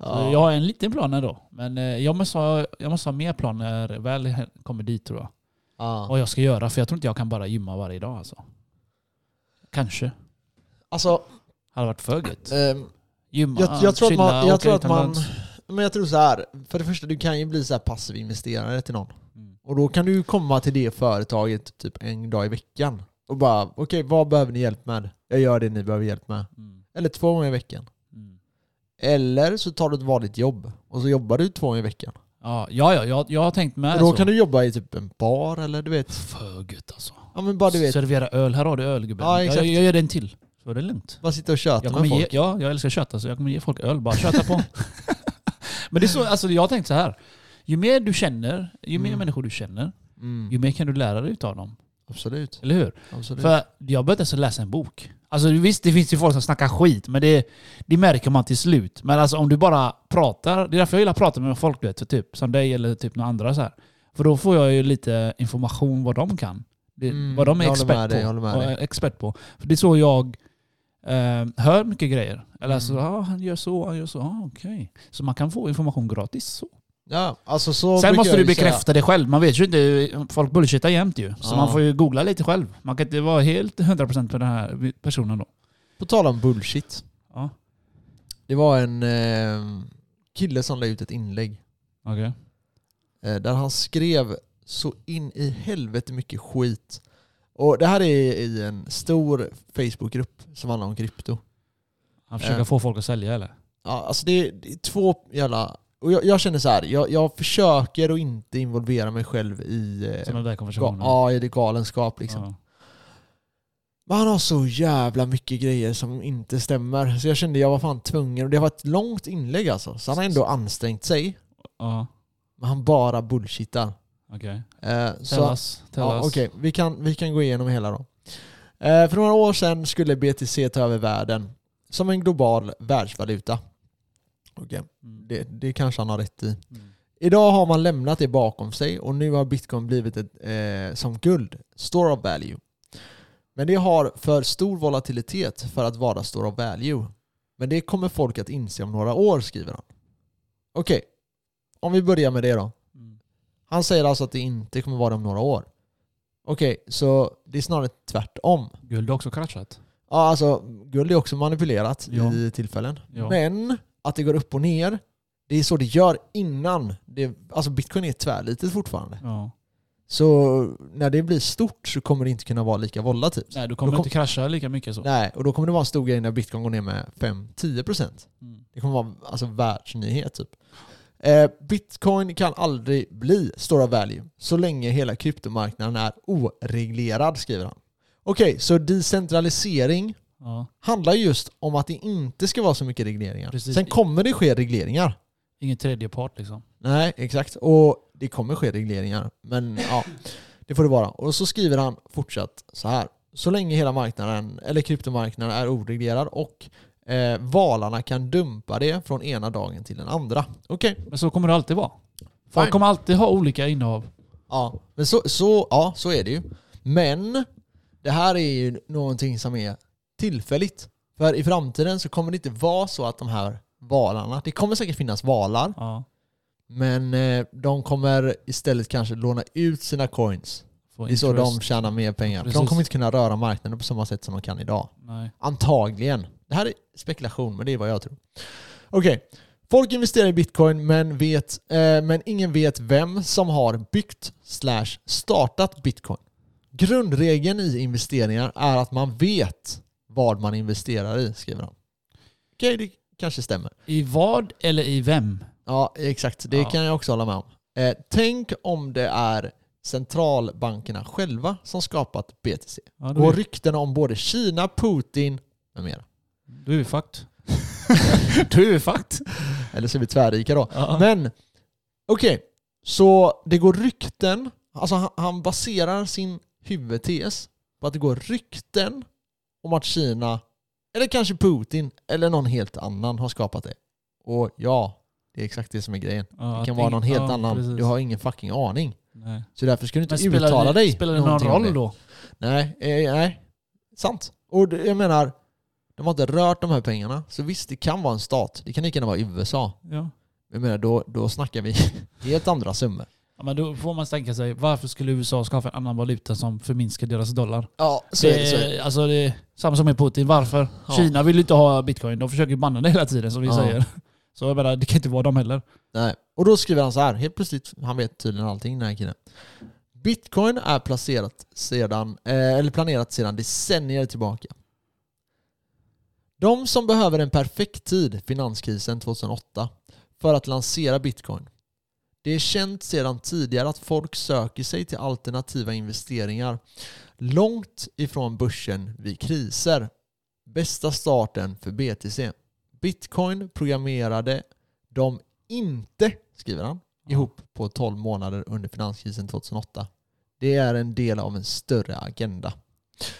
Speaker 2: Så Jag har en liten plan ändå. Men eh, jag måste, ha, jag måste ha mer plan när jag väl kommer dit tror jag.
Speaker 1: Ja.
Speaker 2: Vad jag ska göra, för jag tror inte jag kan bara gymma varje dag alltså. Kanske.
Speaker 1: Alltså,
Speaker 2: Hade varit för gött.
Speaker 1: ehm,
Speaker 2: Gymma,
Speaker 1: jag, jag tror att
Speaker 2: chilla,
Speaker 1: man... Jag
Speaker 2: åka
Speaker 1: tror att man
Speaker 2: utomlands.
Speaker 1: men jag tror så här. för det första, du kan ju bli så här passiv investerare till någon.
Speaker 2: Mm.
Speaker 1: Och då kan du ju komma till det företaget typ en dag i veckan. Och bara, okej vad behöver ni hjälp med? Jag gör det ni behöver hjälp med.
Speaker 2: Mm.
Speaker 1: Eller två gånger i veckan.
Speaker 2: Mm.
Speaker 1: Eller så tar du ett vanligt jobb och så jobbar du två gånger i veckan.
Speaker 2: Ja, ja, ja jag, jag har tänkt med
Speaker 1: och då
Speaker 2: så.
Speaker 1: kan du jobba i typ en bar eller du vet.
Speaker 2: För gött alltså.
Speaker 1: Ja men bara du vet,
Speaker 2: Servera öl, här har du öl gubben.
Speaker 1: Ja,
Speaker 2: jag,
Speaker 1: exakt.
Speaker 2: jag gör en till. Så är det lugnt.
Speaker 1: bara sitta och
Speaker 2: Jag,
Speaker 1: köta
Speaker 2: kommer
Speaker 1: med
Speaker 2: ge,
Speaker 1: folk.
Speaker 2: ja, jag älskar kött alltså. Jag kommer ge folk öl bara. Köta
Speaker 1: [LAUGHS]
Speaker 2: på. Men det är så, alltså, jag har tänkt så här. Ju mer du känner, ju mer
Speaker 1: Mm.
Speaker 2: människor du känner, ju
Speaker 1: Mm.
Speaker 2: mer kan du lära dig utav dem.
Speaker 1: Absolut.
Speaker 2: Eller hur?
Speaker 1: Absolut.
Speaker 2: För jag började alltså läsa en bok. Alltså visst, det finns ju folk som snackar skit, men det, det märker man till slut. Men alltså om du bara pratar, det är därför jag gillar att prata med folk du vet, så typ, som dig eller typ några andra så här. För då får jag ju lite information vad de kan. Det,
Speaker 1: Mm,
Speaker 2: vad de är
Speaker 1: jag håller
Speaker 2: expert,
Speaker 1: med
Speaker 2: på,
Speaker 1: dig, jag håller med
Speaker 2: och
Speaker 1: dig.
Speaker 2: är expert på. För det är så jag eh, hör mycket grejer. Eller så,
Speaker 1: Mm.
Speaker 2: ah, han gör så, han gör så, ah, okej. Så man kan få information gratis. Så.
Speaker 1: Ja, alltså så
Speaker 2: Sen
Speaker 1: brukar
Speaker 2: måste
Speaker 1: jag
Speaker 2: du
Speaker 1: ju säga.
Speaker 2: bekräfta det själv. Man vet ju inte, folk bullshittar jämt ju. Så
Speaker 1: Ja.
Speaker 2: man får ju googla lite själv. Man kan inte vara helt 100% på den här personen då.
Speaker 1: På tal om bullshit.
Speaker 2: Ja.
Speaker 1: Det var en eh, kille som la ut ett inlägg
Speaker 2: Okej.
Speaker 1: eh, där han skrev så in i helvete mycket skit Och det här är i en stor Facebookgrupp som handlar om krypto.
Speaker 2: Han försöker
Speaker 1: Eh.
Speaker 2: få folk att sälja eller?
Speaker 1: Ja, alltså det är, det är två jävla... Och jag, jag känner så här, jag, jag försöker att inte involvera mig själv i... Eh,
Speaker 2: Sådana där
Speaker 1: ga,
Speaker 2: konversationer.
Speaker 1: ja, i det galenskap liksom.
Speaker 2: Ja.
Speaker 1: Men han har så jävla mycket grejer som inte stämmer. Så jag kände jag var fan tvungen. Och det var ett långt inlägg alltså. Så han har ändå ansträngt sig.
Speaker 2: Ja,
Speaker 1: Men han bara bullshittar.
Speaker 2: okej.
Speaker 1: Eh,
Speaker 2: Tell
Speaker 1: så
Speaker 2: us. Tell
Speaker 1: ja,
Speaker 2: us.
Speaker 1: okej, vi, kan, vi kan gå igenom hela då. Eh, för några år sedan skulle BTC ta över världen som en global världsvaluta. Okej,
Speaker 2: Mm.
Speaker 1: det, det kanske han har rätt i.
Speaker 2: Mm.
Speaker 1: Idag har man lämnat det bakom sig och nu har bitcoin blivit ett, eh, som guld, store of value. Men det har för stor volatilitet för att vara store of value. Men det kommer folk att inse om några år, skriver han. Okej, om vi börjar med det då.
Speaker 2: Mm.
Speaker 1: Han säger alltså att det inte kommer vara det om några år. Okej, så det är snarare tvärtom.
Speaker 2: Guld har också kraschat.
Speaker 1: Ja, alltså guld är också manipulerat
Speaker 2: Ja.
Speaker 1: i tillfällen.
Speaker 2: Ja.
Speaker 1: Men att det går upp och ner, det är så det gör innan. Det, alltså bitcoin är tvärlitet fortfarande.
Speaker 2: Ja.
Speaker 1: Så när det blir stort så kommer det inte kunna vara lika volatilt.
Speaker 2: Nej, då kommer
Speaker 1: Då
Speaker 2: det inte krascha lika mycket så.
Speaker 1: Nej, och då kommer det vara en stor grej när bitcoin går ner med 5-10%.
Speaker 2: Mm.
Speaker 1: Det kommer vara alltså, världsnyhet typ. Eh, Bitcoin kan aldrig bli stora value så länge hela kryptomarknaden är oreglerad, skriver han. Okej, så decentralisering
Speaker 2: Ja.
Speaker 1: handlar just om att det inte ska vara så mycket regleringar.
Speaker 2: Precis.
Speaker 1: Sen kommer det ske regleringar.
Speaker 2: Ingen tredje part liksom.
Speaker 1: Nej, exakt. Och det kommer ske regleringar. Men ja, det får det vara. Och så skriver han fortsatt så här. Så länge hela marknaden, eller kryptomarknaden, är oreglerad och eh, valarna kan dumpa det från ena dagen till den andra. Okej.
Speaker 2: Men så kommer det alltid vara.
Speaker 1: Fine.
Speaker 2: Folk kommer alltid ha olika innehav.
Speaker 1: Ja, men så, så, ja, så är det ju. Men det här är ju någonting som är tillfälligt. För i framtiden så kommer det inte vara så att de här valarna, det kommer säkert finnas valar,
Speaker 2: Ja.
Speaker 1: men eh, de kommer istället kanske låna ut sina coins.
Speaker 2: Få
Speaker 1: Det är så
Speaker 2: interest.
Speaker 1: de tjänar mer pengar. För de
Speaker 2: Precis.
Speaker 1: kommer inte kunna röra marknaden på samma sätt som de kan idag.
Speaker 2: Nej.
Speaker 1: Antagligen. Det här är spekulation, men det är vad jag tror. Okej. Folk investerar i bitcoin, men, vet, eh, men ingen vet vem som har byggt slash startat bitcoin. Grundregeln i investeringar är att man vet vad man investerar i, skriver han. Okej, det kanske stämmer.
Speaker 2: I vad eller i vem?
Speaker 1: Ja, exakt. Det
Speaker 2: Ja.
Speaker 1: kan jag också hålla med om. Eh, tänk om det är centralbankerna själva som skapat BTC.
Speaker 2: Ja, då,
Speaker 1: Och
Speaker 2: är,
Speaker 1: ryktena om både Kina, Putin med
Speaker 2: [LAUGHS]
Speaker 1: mera.
Speaker 2: då är vi fucked. då är vi fucked.
Speaker 1: Eller så är vi tvärrika då.
Speaker 2: Ja.
Speaker 1: Men okej, så det går rykten. Alltså han, han baserar sin huvudtes på att det går rykten om att Kina, eller kanske Putin, eller någon helt annan har skapat det. Och ja, det är exakt det som är grejen.
Speaker 2: Ja,
Speaker 1: Det kan
Speaker 2: att
Speaker 1: vara
Speaker 2: ing-
Speaker 1: någon helt
Speaker 2: ja,
Speaker 1: annan.
Speaker 2: precis.
Speaker 1: Du har ingen fucking aning.
Speaker 2: Nej.
Speaker 1: Så därför ska du
Speaker 2: Men
Speaker 1: inte
Speaker 2: spelar
Speaker 1: uttala
Speaker 2: det,
Speaker 1: dig.
Speaker 2: spelar det någon
Speaker 1: någonting om
Speaker 2: roll då?
Speaker 1: Nej, eh, nej. Sant. Och det- jag menar, de har inte rört de här pengarna. Så visst, det kan vara en stat. Det kan lika gärna vara USA.
Speaker 2: Ja.
Speaker 1: Jag menar, då, då snackar vi [LAUGHS] helt andra summor.
Speaker 2: Ja, men då får man tänka sig, varför skulle USA skapa en annan valuta som förminskar deras dollar?
Speaker 1: Ja, så är det. Så är det.
Speaker 2: Det, alltså det är samma som med Putin, varför?
Speaker 1: Ja.
Speaker 2: Kina vill ju inte ha bitcoin, de försöker banna det hela tiden som vi
Speaker 1: Ja.
Speaker 2: säger. Så jag menar, det kan inte vara dem heller.
Speaker 1: Nej. Och då skriver han så här, helt plötsligt, han vet tydligen allting den här killen. Bitcoin är placerat sedan, eh, eller planerat sedan decennier tillbaka. De som behöver en perfekt tid, finanskrisen 2008, för att lansera bitcoin. Det är känt sedan tidigare att folk söker sig till alternativa investeringar långt ifrån börsen vid kriser. Bästa starten för BTC. Bitcoin programmerade de inte, skriver han, ihop på 12 månader under finanskrisen 2008. Det är en del av en större agenda.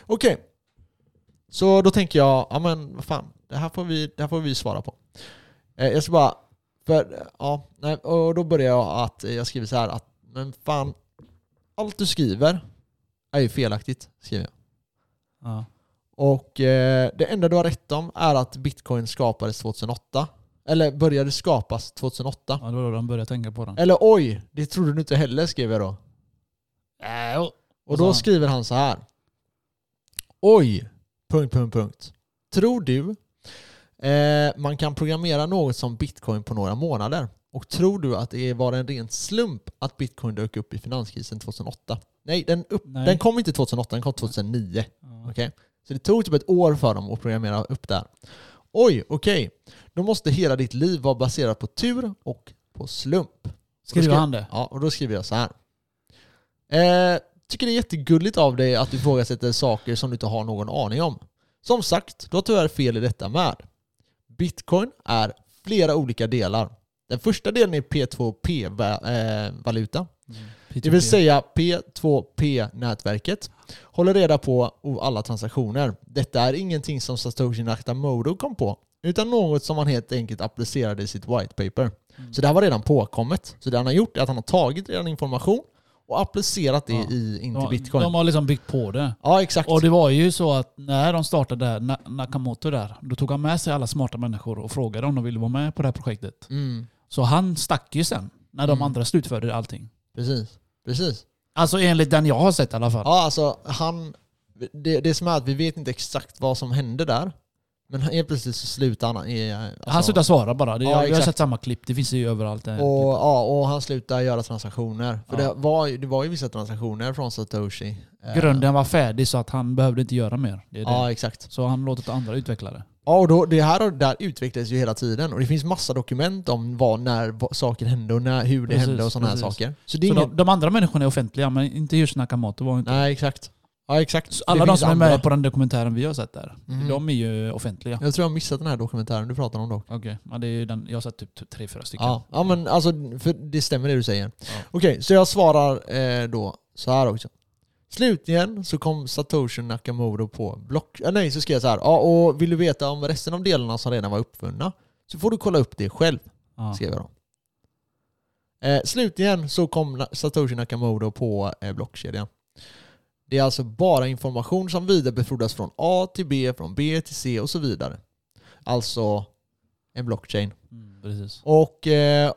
Speaker 1: Okej, så då tänker jag, ja men vad fan, det här får vi, det här får vi svara på. Eh, jag ska bara, för, ja, nej, och då börjar jag att, eh, jag skriver så här att, men fan, allt du skriver är ju felaktigt, skriver jag.
Speaker 2: Ja.
Speaker 1: Och eh, det enda du har rätt om är att bitcoin skapades 2008. Eller började skapas 2008.
Speaker 2: Ja, det var då de började tänka på den.
Speaker 1: Eller oj, det trodde du inte heller skrev jag då.
Speaker 2: Äh, och-
Speaker 1: Och
Speaker 2: sa
Speaker 1: då
Speaker 2: han?
Speaker 1: skriver han så här. Oj, punkt, punkt, punkt. Tror du eh, man kan programmera något som bitcoin på några månader? Och tror du att det var en ren slump att bitcoin dök upp i finanskrisen 2008? Nej, den, upp,
Speaker 2: Nej.
Speaker 1: den kom inte 2008, den kom 2009.
Speaker 2: Ja.
Speaker 1: Okej? Så det tog typ ett år för dem att programmera upp det här. Oj, okej. Då måste hela ditt liv vara baserat på tur och på slump.
Speaker 2: Skriver
Speaker 1: Då skri-
Speaker 2: han det?
Speaker 1: Ja, och då skriver jag så här. Eh, tycker det är jättegulligt av dig att du ifrågasätter saker som du inte har någon aning om. Som sagt, du har tyvärr fel i detta med. Bitcoin är flera olika delar. Den första delen är eh, P2P-valuta. Det vill säga P2P-nätverket håller reda på alla transaktioner. Detta är ingenting som Satoshi Nakamoto kom på, utan något som han helt enkelt applicerade i sitt white paper.
Speaker 2: Mm.
Speaker 1: Så det här var redan påkommet. Så det han har gjort är att han har tagit redan information och applicerat det
Speaker 2: Ja.
Speaker 1: i, in till
Speaker 2: de,
Speaker 1: bitcoin.
Speaker 2: de har liksom byggt på det.
Speaker 1: Ja, exakt.
Speaker 2: Och det var ju så att när de startade där, Na- Nakamoto där, då tog han med sig alla smarta människor och frågade om de ville vara med på det här projektet.
Speaker 1: Mm,
Speaker 2: Så han stack ju sen, när de
Speaker 1: Mm.
Speaker 2: andra slutförde allting.
Speaker 1: precis. precis.
Speaker 2: Alltså enligt den jag har sett i alla fall.
Speaker 1: Ja, alltså han... Det, det som är att vi vet inte exakt vad som hände där. Men helt plötsligt så slutar han... i- Alltså,
Speaker 2: han slutade svara bara. Det,
Speaker 1: Ja,
Speaker 2: jag, jag har
Speaker 1: exakt.
Speaker 2: sett samma klipp, det finns ju överallt. Typ. det här
Speaker 1: Och,
Speaker 2: klippet.
Speaker 1: ja, och han slutade göra transaktioner. För
Speaker 2: Eh, Ja.
Speaker 1: det, var, ju- det var ju vissa transaktioner från Satoshi. Eh,
Speaker 2: Grunden var färdig så att han behövde inte göra mer. Det är det.
Speaker 1: Ja, exakt.
Speaker 2: Så han låtit andra utveckla det.
Speaker 1: Ja, och då, det här och det där utvecklades ju hela tiden. Och det finns massa dokument om vad, när vad, saker hände och när, hur det
Speaker 2: Precis,
Speaker 1: hände och sådana här
Speaker 2: precis.
Speaker 1: saker. Så det är
Speaker 2: så
Speaker 1: ingen...
Speaker 2: de, de andra människorna är offentliga, men inte just Nakamoto. Var inte.
Speaker 1: Nej, exakt. Ja, exakt.
Speaker 2: Så
Speaker 1: Det
Speaker 2: alla de
Speaker 1: finns
Speaker 2: som är
Speaker 1: andra.
Speaker 2: med på den dokumentären vi har sett där,
Speaker 1: Mm.
Speaker 2: de är ju offentliga.
Speaker 1: Jag tror jag har missat den här dokumentären du pratar om dock.
Speaker 2: Okej, men det är ju den, jag har sett typ t- tre, fyra stycken.
Speaker 1: Ja, ja, men alltså för det stämmer det du säger.
Speaker 2: Ja.
Speaker 1: Okej, så jag svarar eh, då så här också. Slutligen så kom Satoshi Nakamoto på block... Äh, nej, så skrev jag så här. Ja, och vill du veta om resten av delarna som redan var uppfunna så får du kolla upp det själv,
Speaker 2: Ja.
Speaker 1: skrev jag då. Eh, slutligen så kom Na- Satoshi Nakamoto på eh, blockkedjan. Det är alltså bara information som vidarebefordras från A till B, från B till C och så vidare. Alltså en blockchain.
Speaker 2: Mm, precis.
Speaker 1: Och, eh,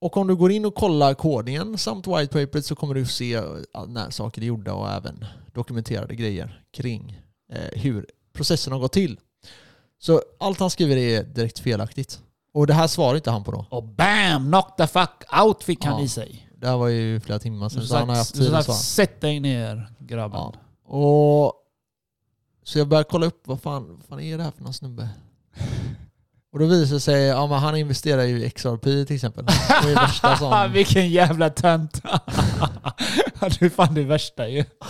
Speaker 1: och om du går in och kollar kodningen samt whitepaperet så kommer du se eh, när saker är gjorda och även dokumenterade grejer kring eh, hur processen har gått till. Så allt han skriver är direkt felaktigt. Och det här svarar inte han på då.
Speaker 2: Och BAM! Knock the fuck out fick han
Speaker 1: Ja,
Speaker 2: i sig.
Speaker 1: Det här var ju flera timmar
Speaker 2: Så
Speaker 1: sedan så han har
Speaker 2: sagt,
Speaker 1: haft
Speaker 2: så
Speaker 1: tid att
Speaker 2: sagt,
Speaker 1: svara.
Speaker 2: sätt dig ner grabben.
Speaker 1: Ja. Och, så jag började kolla upp vad fan, vad fan är det här för någon
Speaker 2: [LAUGHS]
Speaker 1: snubbe? Och då visar det sig, ja men han investerar ju i XRP till exempel. Det är det
Speaker 2: [LAUGHS]
Speaker 1: värsta som...
Speaker 2: Ah, Vilken jävla tönt. [LAUGHS] du är fan det värsta ju. Ah.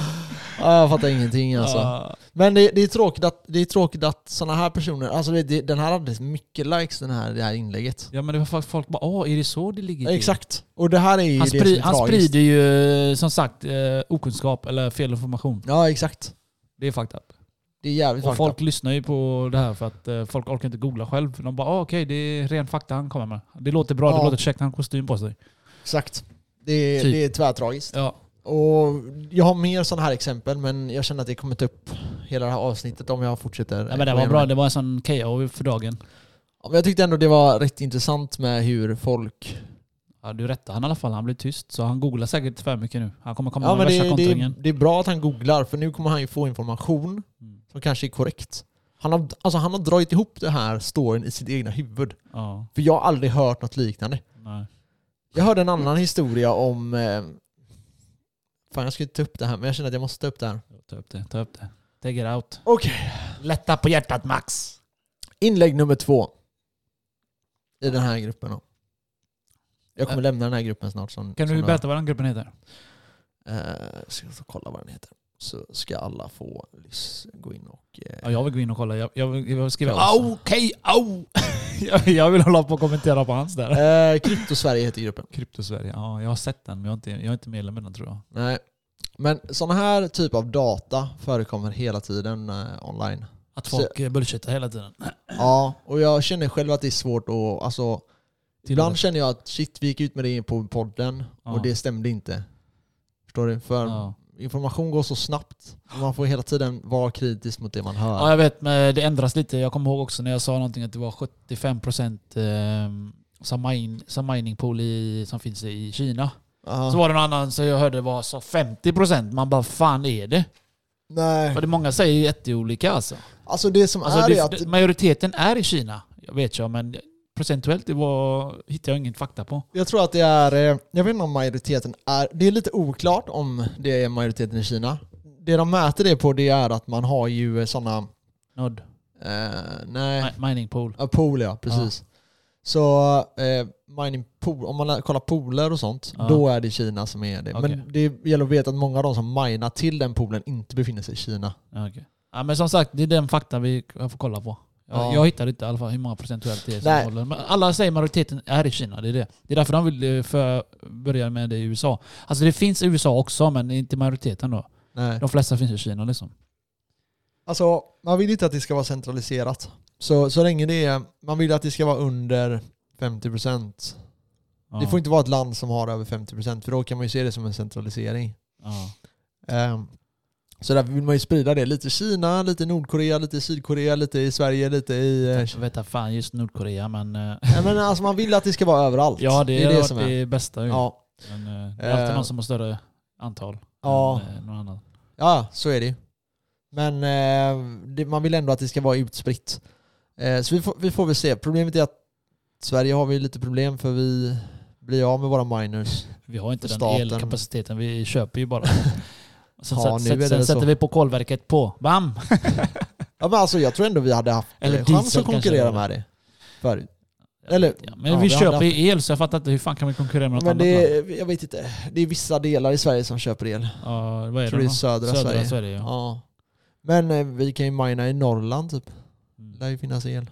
Speaker 1: Ja, jag fattar ingenting alltså.
Speaker 2: Ja.
Speaker 1: Men det, det är tråkigt att, det är tråkigt att sådana här personer, alltså det, det, den här hade mycket likes den här, det här inlägget.
Speaker 2: ja men det var folk, folk bara åh, är det så det ligger till?
Speaker 1: Exakt. Och det här är ju
Speaker 2: Han,
Speaker 1: det
Speaker 2: spri,
Speaker 1: som är
Speaker 2: han
Speaker 1: tragiskt.
Speaker 2: sprider ju som sagt eh, okunskap eller felinformation.
Speaker 1: Ja exakt.
Speaker 2: Det är fucked up.
Speaker 1: Det är jävligt
Speaker 2: Och
Speaker 1: fucked
Speaker 2: folk
Speaker 1: folk...
Speaker 2: lyssnar ju på det här för att eh, folk orkar inte googla själv. De bara ah, okej, det är ren fakta han kommer med. Det låter bra, det
Speaker 1: Ja.
Speaker 2: låter käckt, han har kostym på sig.
Speaker 1: Exakt. Det, är-
Speaker 2: Typ.
Speaker 1: det är tvärtragiskt.
Speaker 2: Ja.
Speaker 1: Och jag har mer sådana här exempel men jag känner att det kommer ta upp hela det här avsnittet om jag fortsätter.
Speaker 2: Ja, men det var bra, det var en sån KO för dagen.
Speaker 1: Ja, men jag tyckte ändå det var rätt intressant med hur folk...
Speaker 2: Ja, du rättade han i alla fall, han blev tyst. Så han googlar säkert för mycket nu. Han kommer komma
Speaker 1: Ja men
Speaker 2: med värsta
Speaker 1: det, det,
Speaker 2: kontringen.
Speaker 1: är- det är bra att han googlar för nu kommer han ju få information
Speaker 2: Mm.
Speaker 1: som kanske är korrekt. Han har, alltså han har dragit ihop den här storyn i sitt egna huvud.
Speaker 2: Ja,
Speaker 1: För jag har aldrig hört något liknande.
Speaker 2: nej.
Speaker 1: Jag hörde en annan historia om... Eh, fan jag skulle ta upp det här men jag känner att jag måste ta upp det här.
Speaker 2: Ta upp det, ta upp det. Take it out.
Speaker 1: Okej.
Speaker 2: Lätta på hjärtat Max.
Speaker 1: Inlägg nummer två. I den här gruppen då. Jag kommer lämna den här gruppen snart. Som,
Speaker 2: Kan
Speaker 1: som
Speaker 2: du berätta vad den gruppen heter?
Speaker 1: Eh, ska jag kolla vad den heter. Så ska alla få lys- gå in och... Eh,
Speaker 2: Ja, jag vill gå in och kolla. Jag, jag, vill, jag vill skriva
Speaker 1: Kaos.
Speaker 2: au, okej, au. [LAUGHS] jag, jag vill hålla på och kommentera på hans där.
Speaker 1: eh, Kryptosverige heter gruppen.
Speaker 2: Kryptosverige. Ja, jag har sett den men jag är inte, jag är inte medlem i den tror jag.
Speaker 1: Nej. Men sådana här typ av data förekommer hela tiden eh, online.
Speaker 2: Att folk eh, bullshittar hela tiden.
Speaker 1: Ja, och jag känner själv att det är svårt att... Alltså, ibland känner jag att shit, vi gick ut med det på podden
Speaker 2: Ja.
Speaker 1: och det stämde inte. Förstår du? För
Speaker 2: Ja.
Speaker 1: information går så snabbt. och Man får hela tiden vara kritisk mot det man hör.
Speaker 2: Ja, jag vet, men det ändras lite. Jag kommer ihåg också när jag sa någonting att det var 75% eh, som, mine, som mining pool i, som finns i Kina.
Speaker 1: Ja.
Speaker 2: Så var det någon annan som jag hörde var så 50%. Man bara, fan är det?
Speaker 1: Mm. Nej.
Speaker 2: För det många säger ju jätteolika alltså.
Speaker 1: Alltså det som
Speaker 2: alltså
Speaker 1: är
Speaker 2: det,
Speaker 1: är att...
Speaker 2: Majoriteten är i Kina, jag vet jag, men procentuellt, det var, hittade jag ingen fakta på.
Speaker 1: Jag tror att det är, eh, jag vet inte om majoriteten är, det är lite oklart om det är majoriteten i Kina. Det de mäter det på det är att man har ju sådana,
Speaker 2: Nod.
Speaker 1: eh, nej,
Speaker 2: Mi- Mining pool.
Speaker 1: Ja, pool ja, precis. Så eh, mining pool, om man kollar pooler och sånt,
Speaker 2: Ja.
Speaker 1: då är det Kina som är det.
Speaker 2: Okej.
Speaker 1: Men det gäller att veta att många av de som minar till den poolen inte befinner sig i Kina.
Speaker 2: Ja, okej. ja, men som sagt, det är den fakta vi jag får kolla på. Jag,
Speaker 1: Ja.
Speaker 2: jag hittar inte i alla fall hur många procentuellt det är
Speaker 1: Nej.
Speaker 2: som håller. Men alla säger majoriteten är i Kina. Det är, det. det är därför de vill eh, för, börja med det i USA. Alltså det finns i USA också, men det är inte majoriteten då.
Speaker 1: Nej.
Speaker 2: De flesta finns i Kina liksom.
Speaker 1: Alltså, man vill inte att det ska vara centraliserat. Så, så länge det är, man vill att det ska vara under 50%.
Speaker 2: Ja.
Speaker 1: Det får inte vara ett land som har över 50% för då kan man ju se det som en centralisering.
Speaker 2: Ja.
Speaker 1: Ehm, så därför vill man ju sprida det. Lite i Kina, lite i Nordkorea, lite i Sydkorea, lite i Sverige, lite i... eh,
Speaker 2: Jag vet inte fan just Nordkorea,
Speaker 1: [LAUGHS]
Speaker 2: men... eh,
Speaker 1: Nej, men alltså man vill att det ska vara överallt.
Speaker 2: Ja, det, är det,
Speaker 1: som
Speaker 2: det,
Speaker 1: är.
Speaker 2: bästa ju.
Speaker 1: Ja.
Speaker 2: Men, eh, det är alltid
Speaker 1: Eh.
Speaker 2: någon som har större antal
Speaker 1: Ja.
Speaker 2: än eh, någon annan.
Speaker 1: ja, så är det ju. Men eh, det, man vill ändå att det ska vara utspritt. Eh, så vi får, vi får väl se. Problemet är att Sverige har vi lite problem för vi blir av med våra miners.
Speaker 2: Vi har inte den
Speaker 1: Staten.
Speaker 2: elkapaciteten, vi köper
Speaker 1: [LAUGHS]
Speaker 2: ju bara. Sen,
Speaker 1: Ja,
Speaker 2: sätt,
Speaker 1: nu är det
Speaker 2: sätt, sen
Speaker 1: så.
Speaker 2: sätter vi på kolverket på. Bam!
Speaker 1: Ja, men alltså, jag tror ändå vi hade haft
Speaker 2: Eller
Speaker 1: Eller chans
Speaker 2: diesel
Speaker 1: att konkurrera
Speaker 2: kanske,
Speaker 1: med det. Förut. Eller,
Speaker 2: Ja, men
Speaker 1: Ja,
Speaker 2: vi
Speaker 1: vi har
Speaker 2: köper
Speaker 1: haft-
Speaker 2: ju el så jag fattar inte hur fan kan vi konkurrera med något
Speaker 1: men
Speaker 2: annat
Speaker 1: det
Speaker 2: land?
Speaker 1: är, jag vet inte. Det är vissa delar i Sverige som köper el.
Speaker 2: Ja, vad är
Speaker 1: Jag tror
Speaker 2: det
Speaker 1: det är
Speaker 2: då?
Speaker 1: södra, Sverige.
Speaker 2: Sverige ja.
Speaker 1: Ja. Men eh, vi kan ju mina i Norrland typ.
Speaker 2: Mm.
Speaker 1: lär ju finnas el.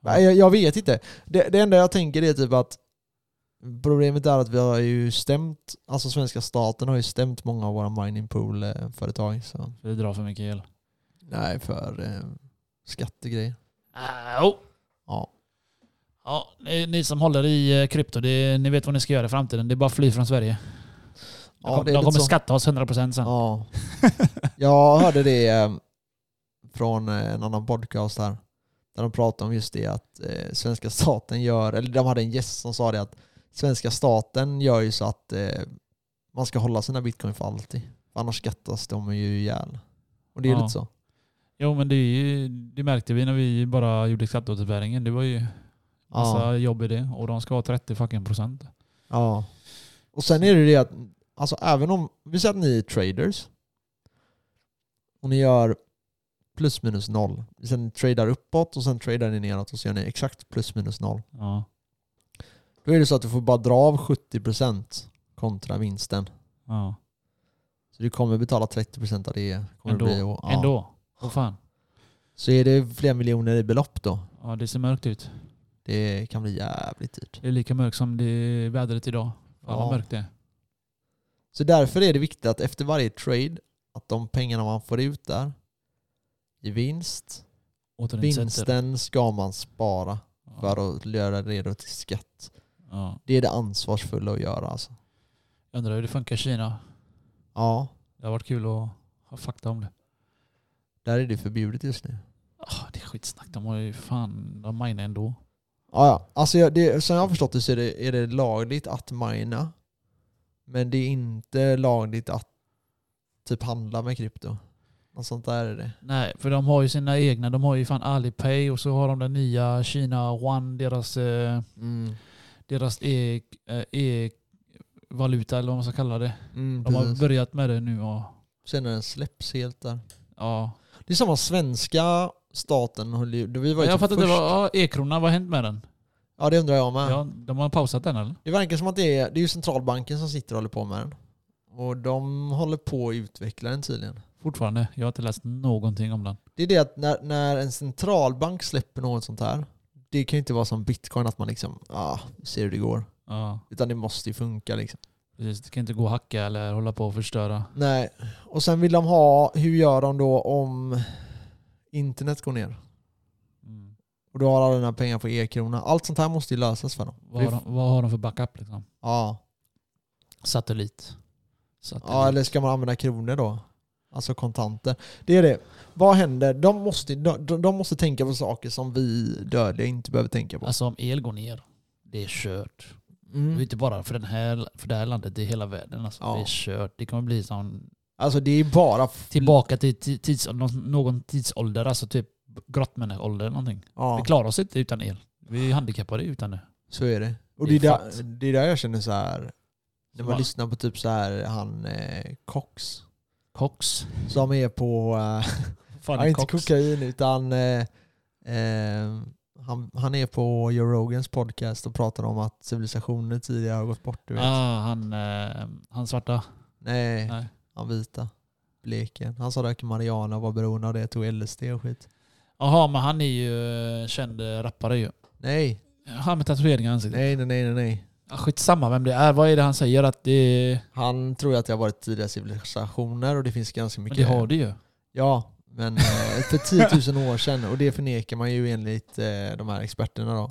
Speaker 1: Nej, jag, jag vet inte. Det, det enda jag tänker är typ att problemet är att vi har ju stämt, alltså svenska staten har ju stämt många av våra mining pool-företag. Så.
Speaker 2: För det drar för mycket el.
Speaker 1: Nej, för eh, skattegrejer.
Speaker 2: Ah, jo.
Speaker 1: Ja.
Speaker 2: Ja, ni, ni som håller i eh, krypto, det, ni vet vad ni ska göra i framtiden. Det är bara att fly från Sverige. De,
Speaker 1: Ja,
Speaker 2: kom,
Speaker 1: det är
Speaker 2: de
Speaker 1: lite
Speaker 2: kommer
Speaker 1: så.
Speaker 2: skatta oss 100% sen.
Speaker 1: Ja. Jag hörde det eh, från eh, en annan podcast här. Där de pratade om just det att eh, svenska staten gör, eller de hade en gäst som sa det att svenska staten gör ju så att eh, man ska hålla sina bitcoin för alltid. För annars skattas de ju ihjäl. Och det är
Speaker 2: Ja.
Speaker 1: lite så.
Speaker 2: Jo men det, är ju, det märkte vi när vi bara gjorde skatteåterbäringen. Det var ju massa
Speaker 1: Ja.
Speaker 2: jobb i det. Och de ska ha 30 fucking procent.
Speaker 1: ja. Och sen är det ju det att, alltså även om, vi säger att ni är traders och ni gör plus minus noll. Sen tradar uppåt och sen tradar ni neråt och så gör ni exakt plus minus noll.
Speaker 2: Ja.
Speaker 1: Då är det så att du får bara dra av 70% kontra vinsten.
Speaker 2: ja.
Speaker 1: Så du kommer betala 30% av det. Kommer
Speaker 2: Ändå.
Speaker 1: Det bli, och, ja.
Speaker 2: Ändå. Vad fan.
Speaker 1: Så är det flera miljoner i belopp då.
Speaker 2: Ja, det ser mörkt ut.
Speaker 1: Det kan bli jävligt dyrt.
Speaker 2: Det är lika mörkt som det vädret idag. Fan vad
Speaker 1: Ja.
Speaker 2: mörkt det är.
Speaker 1: Så därför är det viktigt att efter varje trade, att de pengarna man får ut där i vinst,
Speaker 2: Återinsätter.
Speaker 1: vinsten ska man spara för att göra redo till skatt.
Speaker 2: Ja.
Speaker 1: Det är det ansvarsfulla att göra alltså.
Speaker 2: Jag undrar hur det funkar i Kina.
Speaker 1: Ja,
Speaker 2: Det har varit kul att ha fakta om det.
Speaker 1: där är det förbjudet just nu.
Speaker 2: Ah, det är skitsnack. De har ju fan, de minar ändå.
Speaker 1: Ja, ja. Alltså, jag- det, som jag har förstått det så är det, är det lagligt att mina. Men det är inte lagligt att typ handla med krypto. Något sånt där är det.
Speaker 2: Nej, för de har ju sina egna. De har ju fan Alipay och så har de den nya Kina One, deras, eh, deras e- eh, e-valuta eller vad man ska kalla det.
Speaker 1: Mm,
Speaker 2: De har
Speaker 1: precis.
Speaker 2: börjat med det nu och
Speaker 1: Sen när den släpps helt där.
Speaker 2: ja.
Speaker 1: Det är samma svenska staten höll ju... Vi var ju
Speaker 2: Jag
Speaker 1: typ
Speaker 2: fattar
Speaker 1: först.
Speaker 2: inte, vad- ja, e-krona, vad har hänt med den?
Speaker 1: Ja det undrar jag med.
Speaker 2: Ja, de har pausat den eller?
Speaker 1: Det verkar som att det är, det är ju centralbanken som sitter och håller på med den. Och de håller på att utveckla den tydligen.
Speaker 2: Fortfarande. Jag har inte läst någonting om den.
Speaker 1: Det är det att när, när en centralbank släpper något sånt här, det kan ju inte vara som bitcoin att man liksom, ah, vi ser hur det går.
Speaker 2: Ja,
Speaker 1: Utan det måste ju funka liksom.
Speaker 2: precis. Det kan inte gå att hacka eller hålla på och förstöra.
Speaker 1: Nej, och sen vill de ha, hur gör de då om internet går ner?
Speaker 2: Mm.
Speaker 1: Och då har alla dina pengar på e-krona. Allt sånt här måste ju lösas för dem.
Speaker 2: Vad, har de, vad har de för backup liksom?
Speaker 1: Ja.
Speaker 2: Satellit. Satellit.
Speaker 1: ja, eller ska man använda kronor då? Alltså kontanter. Det är det. Vad händer? De måste, de, de måste tänka på saker som vi dödliga inte behöver tänka på.
Speaker 2: Alltså om el går ner, det är kört. Det är
Speaker 1: Mm.
Speaker 2: inte bara för, den här, för det här landet, det är hela världen. Alltså.
Speaker 1: Ja.
Speaker 2: Det är kört. Det kommer bli som
Speaker 1: Alltså det är bara... f-
Speaker 2: tillbaka till ti- tids, någon, någon tidsålder, alltså typ grottmänniskoålder eller någonting.
Speaker 1: Ja.
Speaker 2: Vi klarar oss inte utan el. Vi är handikappade utan det.
Speaker 1: Så är det. Och det
Speaker 2: Det
Speaker 1: är
Speaker 2: är
Speaker 1: där,
Speaker 2: fatt.
Speaker 1: det är där jag känner så här när man
Speaker 2: Va?
Speaker 1: lyssnar på typ så här han eh, Cox.
Speaker 2: Cox.
Speaker 1: Som är på, eh, [LAUGHS]
Speaker 2: Fan,
Speaker 1: ja,
Speaker 2: är
Speaker 1: inte
Speaker 2: Cox.
Speaker 1: kokain utan eh, eh, han, han är på Joe Rogans podcast och pratar om att civilisationer tidigare har gått bort. Du vet.
Speaker 2: Ah, han, eh, han svarta.
Speaker 1: Nej,
Speaker 2: Nej.
Speaker 1: han vita. Bleken. Han sa röker marijuana och var beroende av det, tog LSD och skit.
Speaker 2: Jaha, men han är ju eh, känd eh, rappare ju.
Speaker 1: Nej,
Speaker 2: Han med tatueringar i ansiktet.
Speaker 1: nej, nej, nej, nej. nej.
Speaker 2: Ah, skitsamma vem det är. Vad är det han säger? Att det,
Speaker 1: Han tror ju att det har varit tidigare civilisationer och det finns ganska
Speaker 2: men
Speaker 1: mycket
Speaker 2: det har det ju.
Speaker 1: Ja, men eh, för 10 000 år sedan och det förnekar man ju enligt eh, de här experterna då.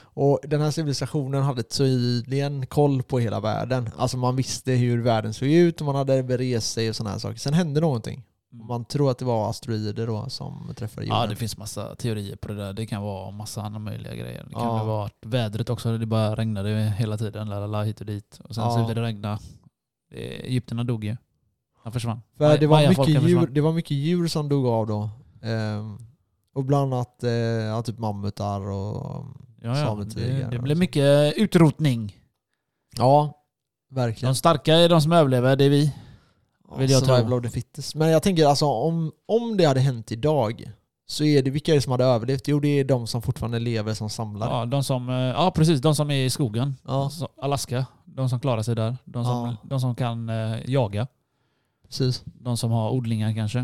Speaker 1: Och den här civilisationen hade tydligen koll på hela världen. Alltså man visste hur världen såg ut och man hade berest sig och sådana här saker. Sen hände någonting. Man tror att det var asteroider då som träffade jorden.
Speaker 2: Mm. Ja, det finns massa teorier på det där. Det kan vara massa andra möjliga grejer. Det kan
Speaker 1: Ja.
Speaker 2: väl vara att vädret också, det bara regnade hela tiden. Lalala, hit och dit. Och sen
Speaker 1: Ja.
Speaker 2: slutade det regna. Eh, Egypterna dog ju. Han försvann.
Speaker 1: För det var, mycket
Speaker 2: Mayafolken
Speaker 1: djur,
Speaker 2: försvann.
Speaker 1: det var mycket djur som dog av då. Ehm, och bland annat eh, ja, typ mammutar och...
Speaker 2: Ja, ja.
Speaker 1: sametygar
Speaker 2: Det, det
Speaker 1: och
Speaker 2: blev
Speaker 1: så.
Speaker 2: mycket utrotning.
Speaker 1: Ja,
Speaker 2: De
Speaker 1: verkligen.
Speaker 2: starka är de som överlever, det är vi. Vill jag
Speaker 1: survival
Speaker 2: tro.
Speaker 1: of the fittest. Men jag tänker alltså om, om det hade hänt idag så är det vilka är det som hade överlevt? Jo det är de som fortfarande lever som samlar.
Speaker 2: Ja, de som, eh, ja precis, de som är i skogen.
Speaker 1: Ja.
Speaker 2: Så- Alaska, de som klarar sig där. De som,
Speaker 1: Ja.
Speaker 2: de som kan eh, jaga.
Speaker 1: Precis.
Speaker 2: De som har odlingar kanske.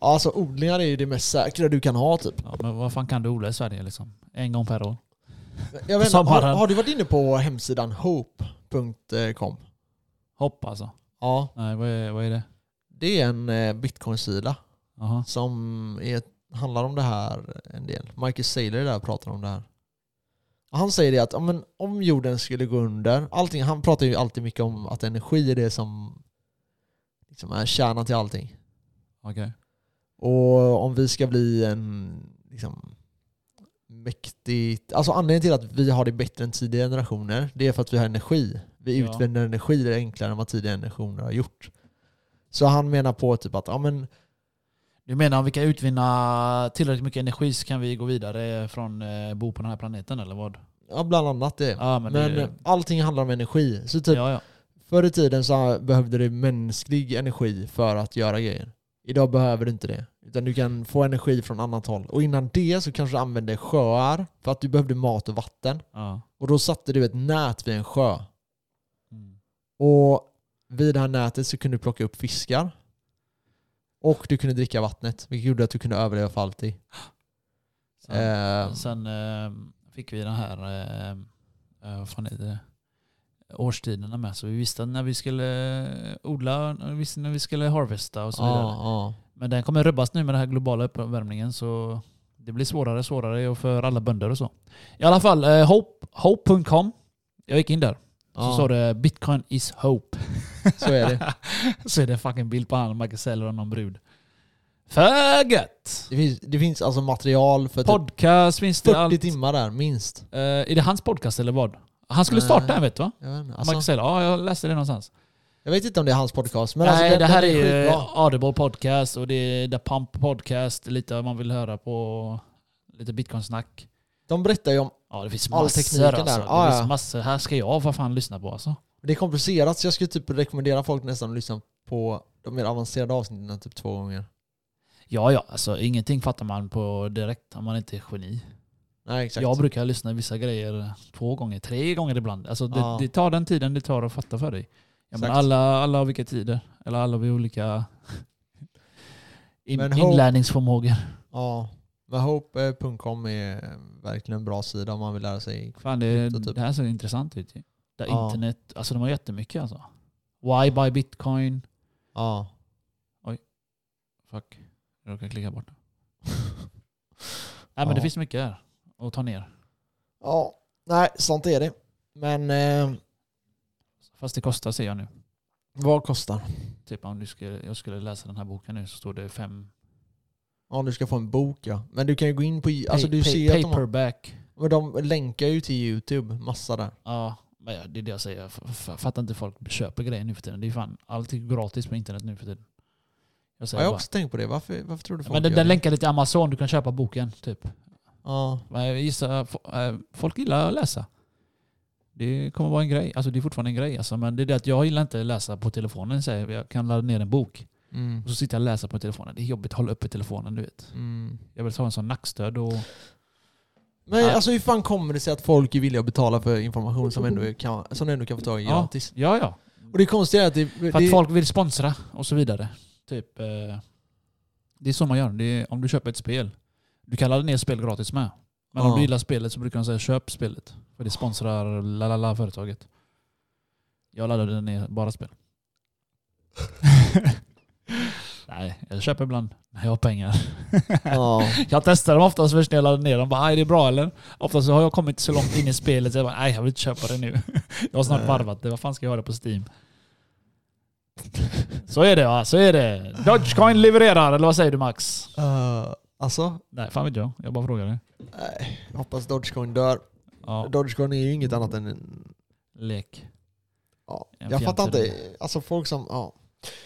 Speaker 1: Ja, Alltså odlingar är ju det mest säkra du kan ha typ.
Speaker 2: Ja, men vad fan kan du odla i Sverige liksom? En gång per år.
Speaker 1: Jag vet inte, har,
Speaker 2: sommaren.
Speaker 1: har du varit inne på hemsidan hope.com?
Speaker 2: Hopp alltså.
Speaker 1: Ja,
Speaker 2: Nej, vad är, vad är det?
Speaker 1: det är en eh, bitcoin-sida
Speaker 2: Jaha.
Speaker 1: som är, handlar om det här en del. Michael Saylor där pratar om det här. Han säger det att ja, men, om jorden skulle gå under, allting, han pratar ju alltid mycket om att energi är det som liksom är kärnan till allting.
Speaker 2: Okej.
Speaker 1: Och om vi ska bli en liksom, mäktigt... Alltså anledningen till att vi har det bättre än tidigare generationer, det är för att vi har energi. Vi
Speaker 2: Ja.
Speaker 1: utvinner energi enklare än vad tidigare generationer har gjort. Så han menar på typ att ja, men,
Speaker 2: Du menar om vi kan utvinna tillräckligt mycket energi så kan vi gå vidare från eh, bo på den här planeten eller vad?
Speaker 1: ja, bland annat det.
Speaker 2: Ja, men,
Speaker 1: Men, eh,
Speaker 2: det,
Speaker 1: allting handlar om energi. Så typ
Speaker 2: ja, ja.
Speaker 1: förr i tiden så behövde du mänsklig energi för att göra grejer. Idag behöver du inte det. Utan du kan få energi från annat håll. Och innan det så kanske du använde sjöar för att du behövde mat och vatten.
Speaker 2: ja.
Speaker 1: Och då satte du ett nät vid en sjö.
Speaker 2: Mm.
Speaker 1: Och vid det här nätet så kunde du plocka upp fiskar. Och du kunde dricka vattnet, vilket gjorde att du kunde överleva för alltid.
Speaker 2: Sen,
Speaker 1: Eh,
Speaker 2: sen eh, fick vi den här, eh, eh, vad fan heter det? årstiderna med. Så vi visste att när vi skulle eh, odla, vi visste när vi skulle harvesta och så vidare.
Speaker 1: ja, ja.
Speaker 2: Men den kommer rubbas nu med den här globala uppvärmningen så det blir svårare och svårare och för alla bönder och så. I alla fall, eh, hope- hope.com. jag gick in där. Så
Speaker 1: ja.
Speaker 2: står det Bitcoin is hope. [LAUGHS]
Speaker 1: Så är det.
Speaker 2: så är det en fucking bild på han, Michael Saylor och någon brud. För gött!
Speaker 1: Det finns, det finns alltså material för typ
Speaker 2: Podcast finns det
Speaker 1: 40
Speaker 2: allt.
Speaker 1: timmar där, minst.
Speaker 2: Eh, är det hans podcast eller vad? Han skulle
Speaker 1: Nej.
Speaker 2: starta en vet du va?
Speaker 1: Jag vet, inte,
Speaker 2: Michael
Speaker 1: alltså,
Speaker 2: Saylor, ja jag läste det någonstans.
Speaker 1: jag vet inte om det är hans podcast, men
Speaker 2: Nej,
Speaker 1: alltså, den,
Speaker 2: det här
Speaker 1: den
Speaker 2: är
Speaker 1: är,
Speaker 2: ju
Speaker 1: skitbra.
Speaker 2: Audible Podcast och det är The Pump Podcast. Lite vad man vill höra på lite bitcoinsnack.
Speaker 1: De berättar ju om...
Speaker 2: Ja, det finns
Speaker 1: All
Speaker 2: massor
Speaker 1: tekniken
Speaker 2: alltså.
Speaker 1: där.
Speaker 2: Det
Speaker 1: Ja,
Speaker 2: finns
Speaker 1: ja.
Speaker 2: massor. Här ska jag vad fan lyssna på alltså.
Speaker 1: Det är komplicerat, så jag skulle typ rekommendera folk nästan att lyssna på de mer avancerade avsnitten typ två gånger.
Speaker 2: Ja, ja, alltså ingenting fattar man på direkt om man inte är geni.
Speaker 1: Nej, exakt.
Speaker 2: Jag brukar lyssna vissa grejer två gånger, tre gånger ibland. Alltså det,
Speaker 1: Ja.
Speaker 2: det tar den tiden det tar att fatta för dig. Ja, men
Speaker 1: Exakt.
Speaker 2: alla, alla har olika tider, eller alla har olika in,
Speaker 1: Men hope-
Speaker 2: inlärningsförmågor.
Speaker 1: Ja, men hope.com är verkligen en bra sida om man vill lära sig.
Speaker 2: Fan, det,
Speaker 1: Krypto, typ.
Speaker 2: det här ser intressant ut ju. Där
Speaker 1: Ja.
Speaker 2: internet, alltså de har jättemycket alltså. Why buy bitcoin?
Speaker 1: Ja. [LAUGHS]
Speaker 2: Fuck, jag råkade klicka bort den. Nej men
Speaker 1: Ja.
Speaker 2: det finns mycket där att ta ner.
Speaker 1: Ja, nej, sånt är det. Men eh,
Speaker 2: Fast det kostar ser jag nu.
Speaker 1: vad kostar?
Speaker 2: Typ om du skulle, jag skulle läsa den här boken nu så står det fem
Speaker 1: Om du ska få en bok ja. Men du kan ju gå in på... Alltså
Speaker 2: pay-
Speaker 1: du
Speaker 2: pay-
Speaker 1: ser att de, har-
Speaker 2: paperback.
Speaker 1: men de länkar ju till YouTube, massa där.
Speaker 2: Ja, men ja, det är det jag säger. F- f- Fattar inte folk köper grejer nu för tiden. Det är fan allt är gratis på internet nu för tiden. Jag
Speaker 1: Ja,
Speaker 2: säger
Speaker 1: jag har
Speaker 2: bara.
Speaker 1: också tänkt på det. Varför, varför tror du folk
Speaker 2: Men den,
Speaker 1: gör
Speaker 2: den
Speaker 1: det?
Speaker 2: länkar lite till Amazon, du kan köpa boken typ.
Speaker 1: Ja.
Speaker 2: Men jag gissar, fo- eh, folk gillar att läsa. Det kommer vara en grej. Alltså det är fortfarande en grej. Alltså, men det är det att jag gillar inte att läsa på telefonen. Så jag jag kan ladda ner en bok
Speaker 1: Mm.
Speaker 2: och så sitter jag och läser på telefonen. Det är jobbigt att hålla uppe telefonen, du vet.
Speaker 1: Mm.
Speaker 2: Jag vill ta en sån nackstöd och...
Speaker 1: Men
Speaker 2: Ja.
Speaker 1: alltså hur fan kommer det sig att folk är villiga att betala för information som ändå kan, som ändå kan få tag i
Speaker 2: Ja.
Speaker 1: gratis?
Speaker 2: Ja, ja.
Speaker 1: Och det konstiga är att det...
Speaker 2: För
Speaker 1: det
Speaker 2: att folk vill sponsra och så vidare. Typ, eh, det är så man gör. Det är, om du köper ett spel. Du kan ladda ner spel gratis med. Men
Speaker 1: Ja.
Speaker 2: om du gillar spelet så brukar de säga köp spelet. För det sponsrar lalala företaget. Jag laddade ner
Speaker 1: [LAUGHS]
Speaker 2: bara spel. Nej, jag köper ibland när jag har pengar. [LAUGHS]
Speaker 1: ja.
Speaker 2: Jag testar dem oftast först när jag laddar ner dem. Bara, "Aj, det är bra eller? Oftast så har jag kommit så långt in i spelet så jag bara, nej jag vill inte köpa det nu. [LAUGHS] Jag har snart
Speaker 1: Nej.
Speaker 2: varvat det. Vad fan ska jag ha det på Steam? Så är det va? Så är det. Dogecoin levererar, eller vad säger du Max?
Speaker 1: Eh, alltså,
Speaker 2: Nej, fan vet jag. Jag bara frågar dig.
Speaker 1: nej. Jag hoppas Dogecoin dör.
Speaker 2: Ja,
Speaker 1: Dogecoin är ju inget annat än en
Speaker 2: lek.
Speaker 1: Ja,
Speaker 2: En
Speaker 1: jag fattar
Speaker 2: fjärntedel.
Speaker 1: inte. Alltså folk som, ja.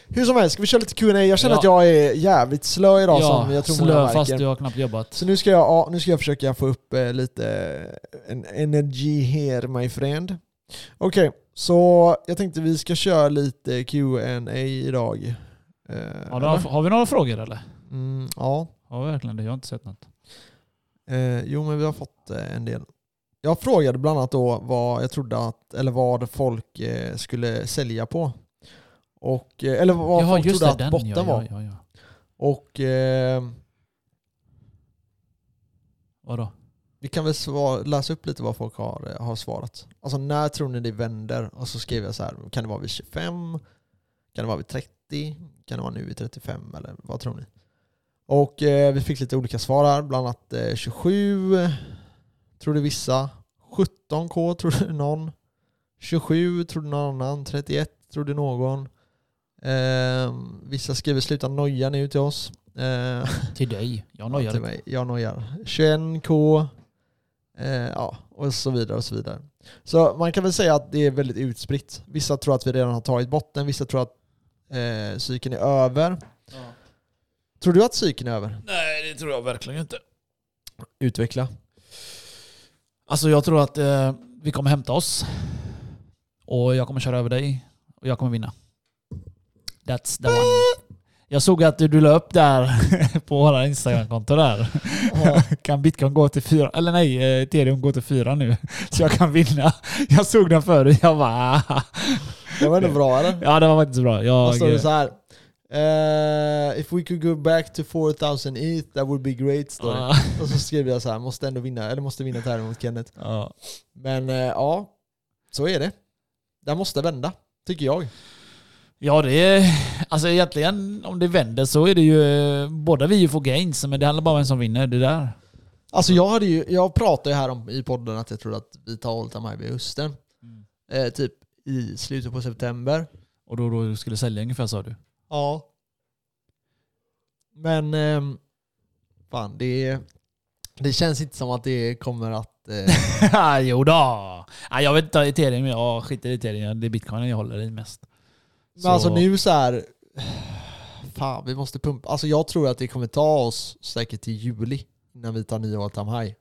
Speaker 1: Hur som helst, ska vi köra lite Q&A? Jag känner
Speaker 2: Ja.
Speaker 1: att jag är jävligt slö idag som
Speaker 2: Ja,
Speaker 1: jag tror många
Speaker 2: slö fast
Speaker 1: märker.
Speaker 2: du har knappt jobbat.
Speaker 1: Så nu ska, jag, ja, nu ska jag försöka få upp eh, lite eh, en energy here my friend. Okej, så jag tänkte vi ska köra lite Q&A idag. Eh,
Speaker 2: Har, du,
Speaker 1: eller?
Speaker 2: några- har vi några frågor eller?
Speaker 1: mm, ja,
Speaker 2: Har vi verkligen det? Jag har inte sett något.
Speaker 1: eh, jo men vi har fått eh, en del. Jag frågade bland annat då vad jag trodde att, eller vad folk eh, skulle sälja på. Och, eh, eller vad
Speaker 2: Jaha,
Speaker 1: folk
Speaker 2: just
Speaker 1: trodde
Speaker 2: det.
Speaker 1: att
Speaker 2: Den.
Speaker 1: botten
Speaker 2: Ja,
Speaker 1: var.
Speaker 2: ja, ja, ja.
Speaker 1: Och eh,
Speaker 2: Vadå?
Speaker 1: vi kan väl svar, läsa upp lite vad folk har, eh, har svarat. Alltså när tror ni det vänder? Och så skrev jag så här, kan det vara vid 25? Kan det vara vid 30? Kan det vara nu vid 35? Eller vad tror ni? Och eh, vi fick lite olika svar här, bland annat eh, 27 eh, trodde vissa, 17k trodde någon, 27 trodde någon annan, 31 trodde någon. Eh, vissa skriver sluta noja nu till oss. Eh,
Speaker 2: Till dig. Jag
Speaker 1: Ja, till
Speaker 2: nojar.
Speaker 1: mig. Jag nojar. 21K, eh, ja, och så vidare och så vidare. Så man kan väl säga att det är väldigt utspritt. Vissa tror att vi redan har tagit botten, vissa tror att eh, cykeln är över.
Speaker 2: Ja.
Speaker 1: Tror du att cykeln är över?
Speaker 2: Nej, det tror jag verkligen inte.
Speaker 1: Utveckla.
Speaker 2: Alltså jag tror att eh, vi kommer hämta oss. Och jag kommer köra över dig. Och jag kommer vinna. That's the one. Jag såg att du, du la upp där [LAUGHS] på våra Instagram-konto där.
Speaker 1: Ja.
Speaker 2: Kan bitcoin gå till fyra? Eller nej, eh, ethereum går till fyra nu. [LAUGHS] Så jag kan vinna. Jag såg den förut. Jag bara... "Ah."
Speaker 1: Det var ändå bra eller?
Speaker 2: Ja, det var faktiskt bra.
Speaker 1: Då står
Speaker 2: Jag,
Speaker 1: det så här. eh, if we could go back to 4000 ETH that would be great. Står det.
Speaker 2: Ja,
Speaker 1: Och så skrev jag så här, måste ändå vinna, eller måste vinna tävlingen mot Kenneth.
Speaker 2: ja.
Speaker 1: Men eh, ja, så är det. Det måste vända, tycker jag.
Speaker 2: ja, det är... Alltså egentligen, om det vänder så är det ju... eh, Båda vi får gains, men det handlar bara om vem som vinner. Det där.
Speaker 1: Alltså jag, hade ju, jag pratade ju här om, i podden att jag trodde att vi tar Old Time vid hösten.
Speaker 2: Mm.
Speaker 1: Eh, typ i slutet på september.
Speaker 2: Och då, då skulle sälja ungefär sa du?
Speaker 1: Ja. Men ehm, fan, det, det känns inte som att det kommer att...
Speaker 2: [LAUGHS]
Speaker 1: Eh,
Speaker 2: Ah, jo då. Ah, jag vet inte, ethereum, jag skiter i ethereum. Det är bitcoin jag håller i mest.
Speaker 1: men alltså nu så här... Fan, vi måste pumpa. Alltså jag tror att det kommer ta oss säkert till juli innan vi tar nya All Time High.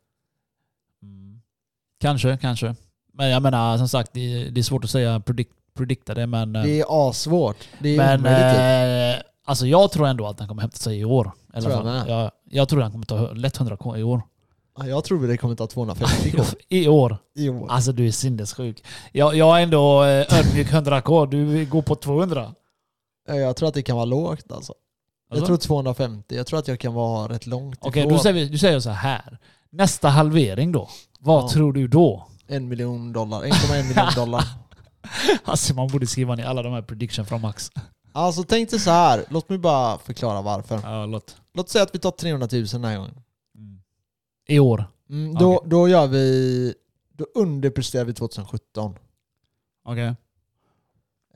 Speaker 2: Mm. Kanske, kanske. Men jag menar som sagt, det, det är svårt att säga predict, predicta det men... eh,
Speaker 1: Det är assvårt. Det är
Speaker 2: men
Speaker 1: omöjligt typ.
Speaker 2: eh, alltså jag tror ändå att den kommer hämta sig i år. I alla
Speaker 1: Tror jag
Speaker 2: fall.
Speaker 1: med.
Speaker 2: Jag, jag tror den kommer ta hö- lätt 100k i år.
Speaker 1: Ja, Jag tror det kommer ta 250
Speaker 2: [LAUGHS]
Speaker 1: kvar
Speaker 2: I år.
Speaker 1: i år.
Speaker 2: Alltså du är sinnessjuk. Jag, jag är ändå eh, ödmjuk 100k, du går på 200.
Speaker 1: Eh, Jag tror att det kan vara lågt alltså. Jag
Speaker 2: Alltså?
Speaker 1: tror 250. Jag tror att jag kan vara rätt långt
Speaker 2: Okej,
Speaker 1: ifrån
Speaker 2: då säger vi, du säger så här. Nästa halvering då? Vad
Speaker 1: Ja.
Speaker 2: tror du då? [LAUGHS]
Speaker 1: en miljon dollar. 1,1 miljon dollar.
Speaker 2: Alltså man borde skriva ner alla de här prediction från Max.
Speaker 1: Alltså tänk dig så här. Låt mig bara förklara varför.
Speaker 2: Ja, låt.
Speaker 1: Låt säga att vi tar 300 000 den här gången.
Speaker 2: Mm. I år.
Speaker 1: Mm, då,
Speaker 2: Okej.
Speaker 1: då gör vi... Då underpresterar vi 2017.
Speaker 2: Okej.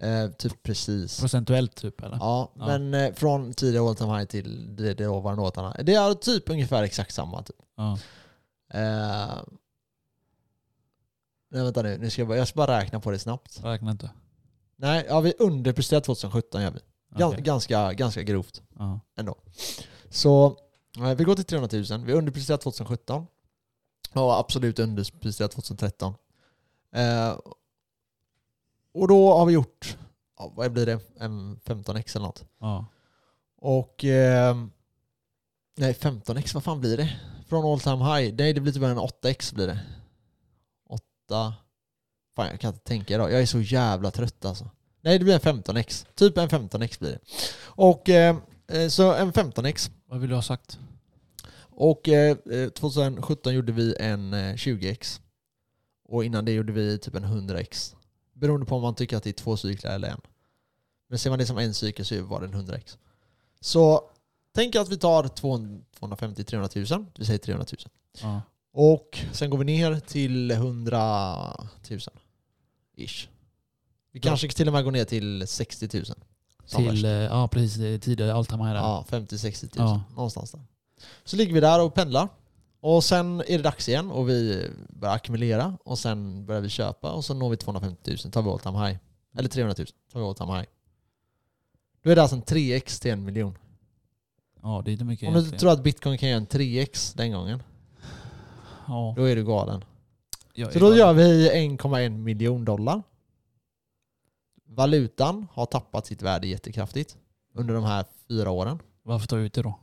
Speaker 1: Eh, typ precis.
Speaker 2: Procentuellt typ eller?
Speaker 1: Ja,
Speaker 2: Ja.
Speaker 1: men eh, från tidiga all time high till det, det ovanande all time high. Det är typ ungefär exakt samma. Typ.
Speaker 2: Ja.
Speaker 1: Eh, nej vänta nu, nu ska jag, bara, jag ska bara räkna på det snabbt.
Speaker 2: Räkna inte.
Speaker 1: Nej, ja, vi underpresterar 2017 gör vi. Gan-
Speaker 2: Okej.
Speaker 1: Ganska, ganska grovt
Speaker 2: Ja.
Speaker 1: ändå. Så eh, vi går till 300 000. Vi underpresterar 2017. Ja, absolut underprisad 2013. Eh, och då har vi gjort, ja, vad blir det, en 15x eller något.
Speaker 2: Ja.
Speaker 1: Och... Eh, nej, 15x, vad fan blir det? Från all time high? Nej, det blir typ en 8x blir det. 8... Fan, jag kan inte tänka idag. Jag är så jävla trött alltså. Nej, det blir en 15x. Typ en 15x blir det. Och... Eh, eh, så en 15x.
Speaker 2: Vad vill du ha sagt?
Speaker 1: Och eh, eh, 2017 gjorde vi en eh, 20x. Och innan det gjorde vi typ en 100x. Beroende på om man tycker att det är två cyklar eller en. Men ser man det som en cykel så var det en 100x. Så tänk att vi tar 250-300 000. Vi säger 300 000.
Speaker 2: Ja.
Speaker 1: Och sen går vi ner till 100 000. Ish. Vi kanske till och med går ner till 60 000. som värst.
Speaker 2: Till, eh, ja precis, det är tidigare Altahammar här.
Speaker 1: Ja, 50-60 000.
Speaker 2: Ja.
Speaker 1: Någonstans där. Så ligger vi där och pendlar. Och sen är det dags igen och vi börjar ackumulera och sen börjar vi köpa och så når vi 250 000, tar vi all time high. Eller 300 000, tar vi all time high. Då är det alltså en 3x till en miljon.
Speaker 2: Ja, det är inte mycket
Speaker 1: Om du
Speaker 2: egentligen.
Speaker 1: tror att bitcoin kan göra en 3x den gången,
Speaker 2: ja,
Speaker 1: då är du galen.
Speaker 2: jag
Speaker 1: Så
Speaker 2: är
Speaker 1: då
Speaker 2: glad.
Speaker 1: gör vi 1,1 miljon dollar. Valutan har tappat sitt värde jättekraftigt under de här fyra åren.
Speaker 2: Varför ta ut det då?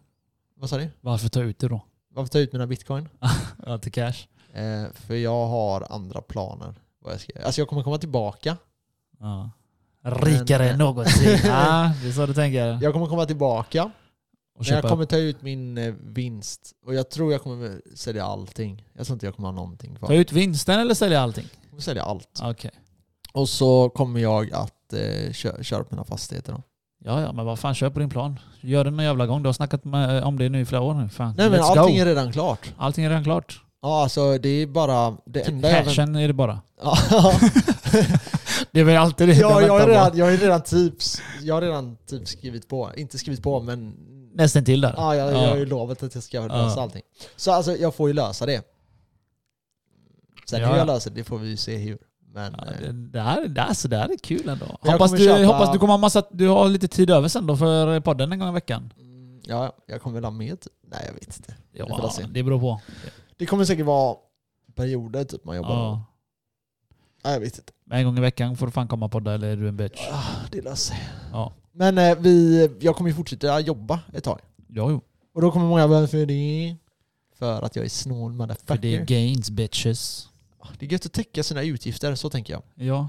Speaker 1: Vad sa du?
Speaker 2: Varför ta ut det då?
Speaker 1: Varför tar jag ut mina bitcoin?
Speaker 2: Ja, till cash.
Speaker 1: Eh, för jag har andra planer. Vad jag ska, alltså jag kommer komma tillbaka.
Speaker 2: Ja. Rikare än någonsin. [LAUGHS] ja, det är så du tänker.
Speaker 1: Jag kommer komma tillbaka.
Speaker 2: Och
Speaker 1: Men jag
Speaker 2: köpa
Speaker 1: kommer ta ut min eh, vinst. Och jag tror jag kommer sälja allting. Jag tror inte jag kommer ha någonting kvar.
Speaker 2: Ta ut vinsten eller sälja allting?
Speaker 1: Jag kommer sälja allt.
Speaker 2: Okej.
Speaker 1: Och så kommer jag att eh, köra, köra upp mina fastigheter då.
Speaker 2: Ja, ja, men vad fan, kör på din plan. Gör den en jävla gång. Du har snackat med, eh, om det nu i flera år nu. Fan.
Speaker 1: Nej men
Speaker 2: Let's
Speaker 1: allting
Speaker 2: go.
Speaker 1: är redan klart.
Speaker 2: allting är redan klart.
Speaker 1: Ja alltså det är bara det
Speaker 2: Typ
Speaker 1: enda jag vänt-
Speaker 2: Cashen är det bara. [LAUGHS]
Speaker 1: Ja,
Speaker 2: Det är väl alltid det
Speaker 1: jag, jag,
Speaker 2: de
Speaker 1: är
Speaker 2: väntar på.
Speaker 1: redan, jag är redan typs, jag har redan typ skrivit på. Inte skrivit på men
Speaker 2: Nästan till där.
Speaker 1: Ja, jag,
Speaker 2: Ja.
Speaker 1: jag har ju lovat att jag ska lösa
Speaker 2: Ja.
Speaker 1: allting. Så alltså, jag får ju lösa det. Sen
Speaker 2: Ja,
Speaker 1: hur
Speaker 2: ja.
Speaker 1: jag löser det, det får vi ju se hur. Men
Speaker 2: Ja,
Speaker 1: eh,
Speaker 2: det, det, här, det, alltså, det här är kul ändå.
Speaker 1: jag
Speaker 2: Hoppas
Speaker 1: kommer
Speaker 2: du,
Speaker 1: köpa-
Speaker 2: hoppas du kommer ha massa, du har lite tid över sen då för podden en gång i veckan.
Speaker 1: mm, ja, ja, jag kommer väl ha mer tid. Nej, jag vet inte. Vi får
Speaker 2: Ja,
Speaker 1: se.
Speaker 2: det beror på.
Speaker 1: Det kommer säkert vara perioder typ man jobbar.
Speaker 2: Ja.
Speaker 1: Nej, jag vet inte.
Speaker 2: En gång i veckan får du fan komma och podda eller är du en bitch?
Speaker 1: Ah, Det löser sig.
Speaker 2: Ja.
Speaker 1: Men eh, vi, jag kommer ju fortsätta jobba ett tag.
Speaker 2: Ja, jo.
Speaker 1: Och då kommer många varför det? För att jag är snål
Speaker 2: För
Speaker 1: motherfucker.
Speaker 2: det är gains bitches.
Speaker 1: Ah, det är gött att täcka sina utgifter, så tänker jag.
Speaker 2: Ja.